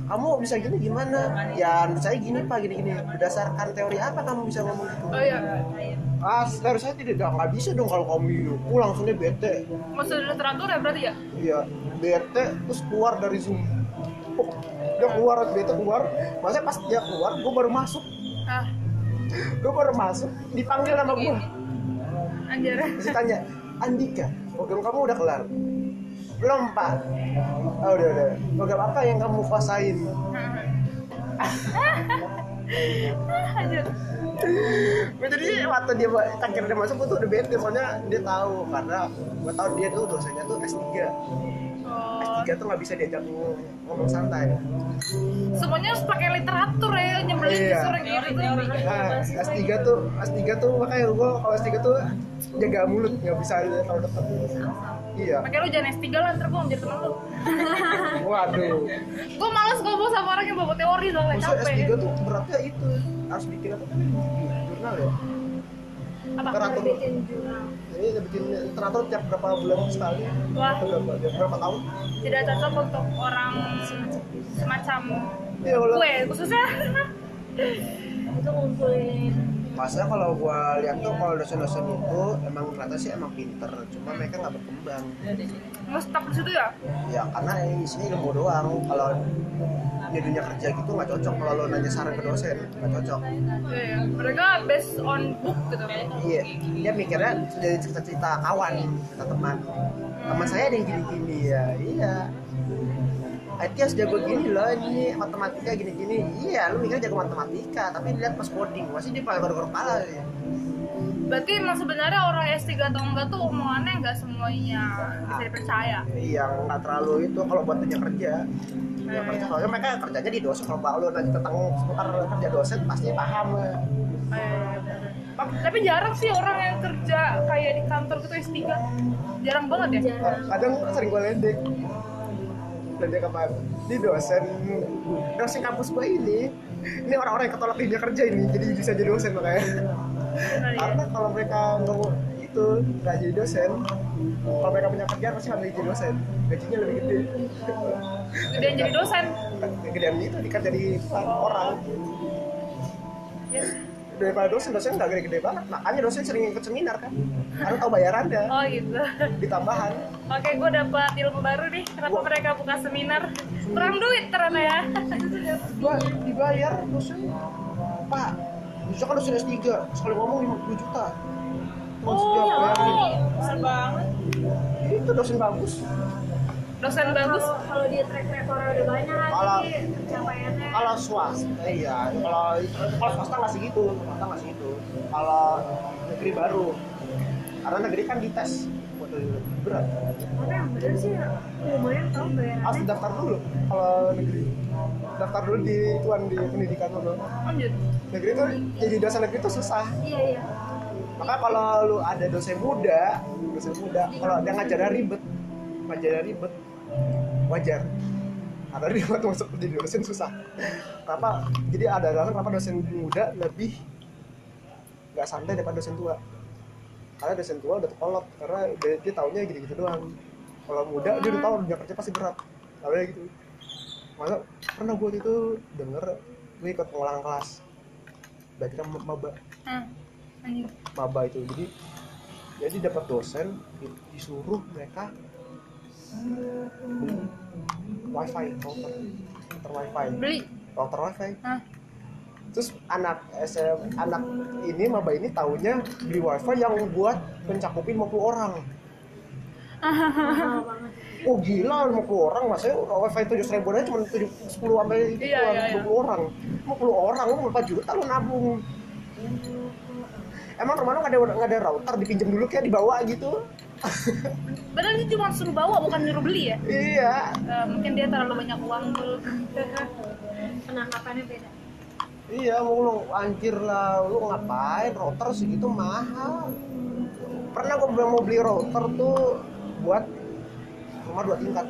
C: kamu bisa gini gimana ya menurut saya gini pak gini gini berdasarkan teori apa kamu bisa ngomong gitu
B: oh iya
C: ah teori saya tidak nggak nggak bisa dong kalau kamu hidup Gua langsung dia bete
B: maksud literatur ya berarti ya
C: iya bete terus keluar dari zoom Oh, dia keluar bete keluar maksudnya pas dia keluar gua baru masuk
B: ah
C: gua baru masuk dipanggil nama gua
B: anjir
C: Terus tanya, Andika, program kamu udah kelar? Belum, Pak. Oh, udah, udah. Program apa yang kamu kuasain?
B: Ah, anjir
C: Gua Nah, jadi waktu dia akhirnya dia masuk, gue tuh udah bete. Soalnya dia tahu, karena gue tahu dia tuh dosennya tuh S3.
B: oh,
C: S3 tuh nggak bisa diajak ngomong, ngomong santai.
B: semuanya harus pakai literatur ya nyebelin
C: Iya.
B: disuruh gitu
C: Nah, S3 tuh, S3 tuh makanya gue kalau S3 tuh jaga mulut, nggak bisa kalau depan. Iya.
B: pakai lu jangan S3 lah ntar gue jadi temen lu
C: Waduh.
B: gue males ngomong sama orang yang bawa teori soalnya
C: Maksudnya S3
B: capek
C: tuh beratnya itu harus bikin apa kan jurnal ya?
B: Apa?
C: Literatur.
A: bikin jurnal
C: Jadi bikin literatur tiap berapa bulan sekali?
B: Wah.
C: Atau berapa, tiap berapa tahun?
B: tidak cocok untuk orang semacam
C: Ya Allah.
B: gue khususnya
A: itu ngumpulin
C: Maksudnya kalau gua lihat tuh kalau dosen-dosen itu emang ternyata sih emang pinter, cuma mereka nggak berkembang.
B: ngestak di situ ya
C: Ya karena ini isinya ilmu doang. Kalau di dunia kerja gitu nggak cocok kalau lo nanya saran ke dosen nggak cocok
B: Iya, iya. mereka based on book gitu
C: iya dia mikirnya dari cerita-cerita kawan cerita teman teman saya ada yang gini-gini ya iya IT harus jago gini loh ini matematika gini-gini iya lu mikirnya jago matematika tapi lihat pas coding masih dia paling baru kepala ya.
B: berarti emang sebenarnya orang S3 atau enggak tuh omongannya enggak semuanya bisa dipercaya
C: yang Iya, nggak terlalu itu kalau buat dunia kerja dunia kerja soalnya mereka kerjanya di dosen kalau Pak lu nanti tentang seputar kerja dosen pasti paham ya. lah.
B: Eh, tapi jarang sih orang yang kerja kayak di kantor gitu S3 jarang banget ya
A: jarang
C: kadang sering gue ledek dia kemarin ini dosen dosen kampus gue ini ini orang-orang yang ketolak dia kerja ini jadi bisa jadi dosen makanya
B: ya.
C: karena kalau mereka nunggu itu nggak jadi dosen kalau mereka punya kerjaan pasti nggak jadi dosen gajinya lebih gede
B: Gedean jadi dosen.
C: gedean itu dikerja di orang
B: Ya.
C: daripada dosen dosen nggak gede-gede banget makanya dosen sering ikut seminar kan karena tahu bayarannya
B: Oh gitu.
C: ditambahan
B: Oke, gue dapat ilmu baru nih. Kenapa mereka buka seminar? Kurang duit ternyata ya.
C: gua dibayar dosen pak misalkan dosen S3 sekali ngomong 50 juta
B: Oh,
C: Terus dia
B: iya,
C: bayarin.
B: besar banget.
C: itu dosen bagus
B: Dosen bagus.
A: Kalau- kalau dia track record udah banyak
C: Kalau-
A: sih pencapaiannya
C: kalau swasta iya kalau kalau swasta nggak segitu swasta nggak segitu kalau negeri baru karena negeri kan dites waktu itu berat
A: tapi yang bener sih lumayan tau ya?
C: harus
A: bayarannya
C: daftar dulu kalau negeri daftar dulu di tuan di pendidikan dulu
B: Lanjut.
C: negeri tuh jadi dosen negeri tuh susah
A: iya iya
C: Maka kalau lu ada dosen muda, dosen muda, kalau dia ngajarnya ribet, ngajarnya ribet, wajar. Karena dia waktu masuk jadi dosen susah. Kenapa? Jadi ada alasan kenapa dosen muda lebih nggak santai daripada dosen tua. Karena dosen tua udah terkolot, karena dia, dia taunya gitu-gitu doang. Kalau muda dia udah tahu dunia kerja pasti berat. Kalau gitu. Masa pernah gue itu denger gue ikut pengulangan kelas. Belajar sama maba
B: Hmm. Lanjut.
C: maba itu jadi jadi dapat dosen di- disuruh mereka beli wifi router router wifi
B: Beli.
C: router wifi
B: Hah?
C: terus anak SM, anak ini maba ini taunya beli wifi yang buat mencakupin 50 orang
A: mahal banget
C: oh gila 50 orang maksudnya wifi 7 ribu aja cuma 7, 10 sampai
B: Iya, iya, iya.
C: 20 orang 50 orang lu berapa juta lu nabung emang rumah lu nggak ada nggak ada router dipinjam dulu kayak dibawa gitu
B: Padahal dia cuma suruh bawa bukan nyuruh beli ya.
C: Iya,
B: Eh, mungkin dia terlalu banyak uang dulu.
A: penangkapannya beda
C: iya mau lu anjir lah, lu ngapain router segitu mahal. Pernah gue bilang mau beli router tuh buat rumah dua tingkat.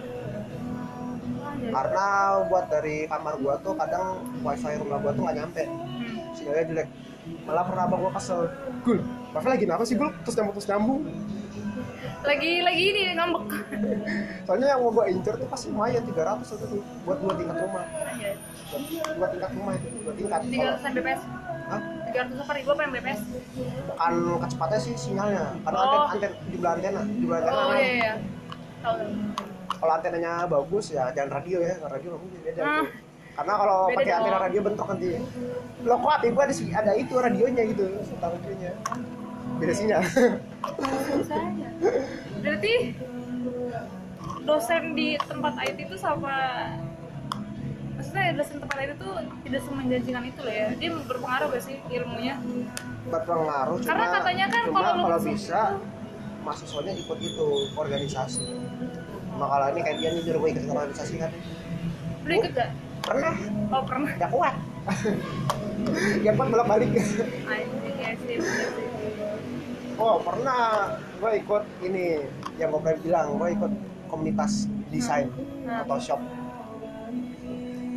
C: Karena buat dari kamar gua tuh kadang wifi rumah gua tuh nggak nyampe,
B: Hmm.
C: sinyalnya jelek. Malah pernah abang gua kesel, gul, wifi lagi kenapa sih gul? Terus nyambung terus nyambung.
B: Lagi lagi ini ngambek.
C: Soalnya yang mau gua incer tuh pasti ya, lumayan 300 waktu itu buat dua tingkat rumah,
B: Lanjut.
C: Buat dua tingkat rumah itu dua tingkat.
B: 300 Mbps.
C: Hah?
B: 300 apa ribu apa Mbps?
C: bukan kecepatnya sih sinyalnya karena
B: Oh.
C: antena antena jumlah antena jumlah antena
B: Oh
C: kan.
B: iya iya. Tahu. tahu.
C: kalau antenanya bagus ya jangan radio ya karena radio bagus beda
B: Ah.
C: tuh. karena kalau
B: Beda
C: pakai
B: dong.
C: antena radio bentrok nanti lo kok hati gua ada, si- ada itu radionya gitu serta radionya beda sinyal
B: Berarti dosen di tempat IT itu sama maksudnya dosen tempat IT itu tidak semenjanjikan itu loh ya. Dia berpengaruh gak sih ilmunya?
C: berpengaruh cuma
B: Karena katanya kan
C: cuma
B: kalau
C: kalau,
B: lu masuk
C: bisa mahasiswanya ikut itu organisasi makalah ini kayak dia nih nyuruh gue ikut organisasi kan
B: Lu ikut gak?
C: pernah
B: Oh pernah.
C: nggak kuat yang kuat bolak balik
B: I see, I see, I see.
C: Oh pernah, gue ikut ini yang gue pernah bilang, gue ikut komunitas desain
B: Hmm.
C: atau shop.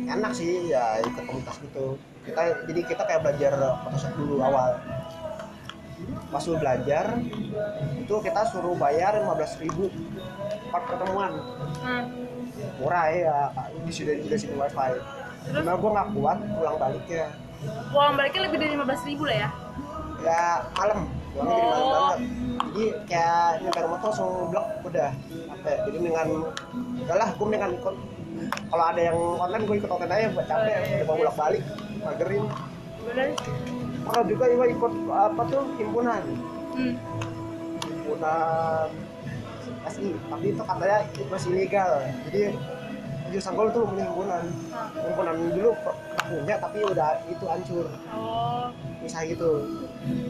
C: Enak sih ya ikut komunitas gitu. Kita jadi kita kayak belajar Photoshop dulu awal. Pas lu belajar itu kita suruh bayar 15.000 ribu per pertemuan.
B: Nah,
C: Murah ya, di sini juga sini wifi.
B: Terus?
C: Cuma gue nggak kuat pulang baliknya.
B: uang baliknya lebih dari 15 ribu lah ya.
C: ya malam pulangnya jadi malam
B: Oh.
C: banget jadi kayak nyampe rumah tuh langsung blok udah capek jadi dengan udahlah gue mendingan ikut kalau ada yang online gue ikut online aja buat capek
B: Oh, iya,
C: udah mau
B: iya.
C: bolak balik magerin
B: Bener.
C: pernah juga gue ikut apa tuh himpunan
B: Hmm.
C: himpunan SI tapi itu katanya masih ilegal jadi jurusan gue tuh punya himpunan
B: Nah.
C: himpunan dulu pernah punya tapi udah itu hancur
B: Oh.
C: misah gitu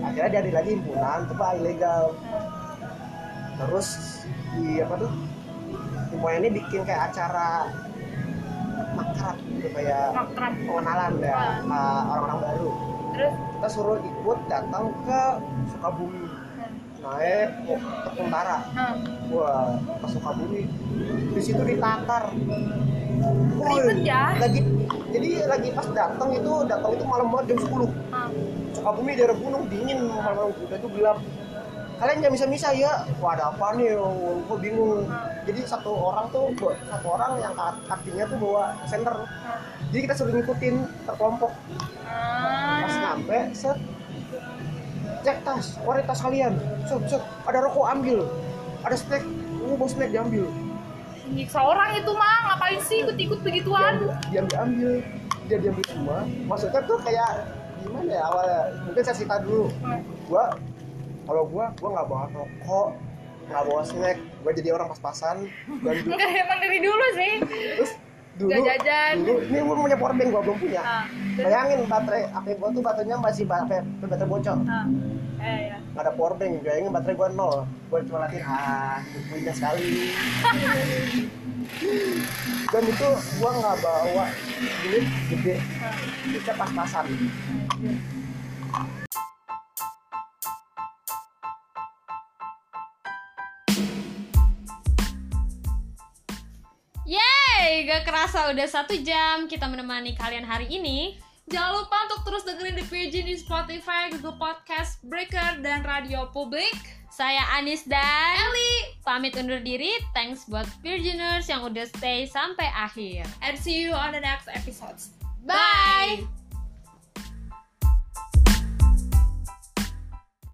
C: akhirnya dia ada lagi himpunan itu pak ilegal
B: Nah.
C: terus di apa tuh semuanya ini bikin kayak acara makrab gitu kayak
B: Makrab.
C: pengenalan ya
B: Ah.
C: uh, orang-orang baru
B: Terus.
C: kita suruh ikut datang ke Sukabumi naik oh, ke Tentara
B: Nah.
C: wah ke Sukabumi di situ ditatar
B: Ribet ya.
C: Lagi jadi lagi pas datang itu datang itu malam banget jam 10.
B: Ah.
C: Sukabumi daerah gunung dingin malam-malam udah tuh gelap. Kalian jangan bisa-bisa ya. Wah ada apa nih? Gue bingung. Jadi satu orang tuh satu orang yang ka- kakinya tuh bawa senter. Jadi kita suruh ngikutin terkelompok. Pas nyampe set cek tas, keluarin tas kalian. Set, set. Ada rokok ambil. Ada snack, uh, bawa snack diambil.
B: Nyiksa orang itu mah ngapain sih ikut-ikut begituan?
C: diam diambil dia diambil semua maksudnya tuh kayak gimana ya awalnya mungkin saya cerita dulu gua kalau gua gua nggak bawa rokok nggak bawa snack gua jadi orang pas-pasan dan du-
B: Enggak emang dari dulu sih.
C: terus dulu
B: Nggak jajan.
C: dulu ini gua punya power bank gua belum punya
B: Ah, terus?
C: bayangin baterai HP gua tuh baterainya masih ba- HP baterai bocor
B: Ah, eh, ya.
C: nggak ada power bank bayangin baterai gua nol gua cuma latihan ah punya sekali dan itu gua nggak bawa duit gede
B: Ah.
C: kita pas-pasan
E: Yeay, gak kerasa udah satu jam kita menemani kalian hari ini. Jangan lupa untuk terus dengerin The Virgin di Spotify, Google Podcast, Breaker, dan Radio Publik. Saya Anis dan Eli pamit undur diri. Thanks buat Virginers yang udah stay sampai akhir.
B: And see you on the next episodes.
E: Bye.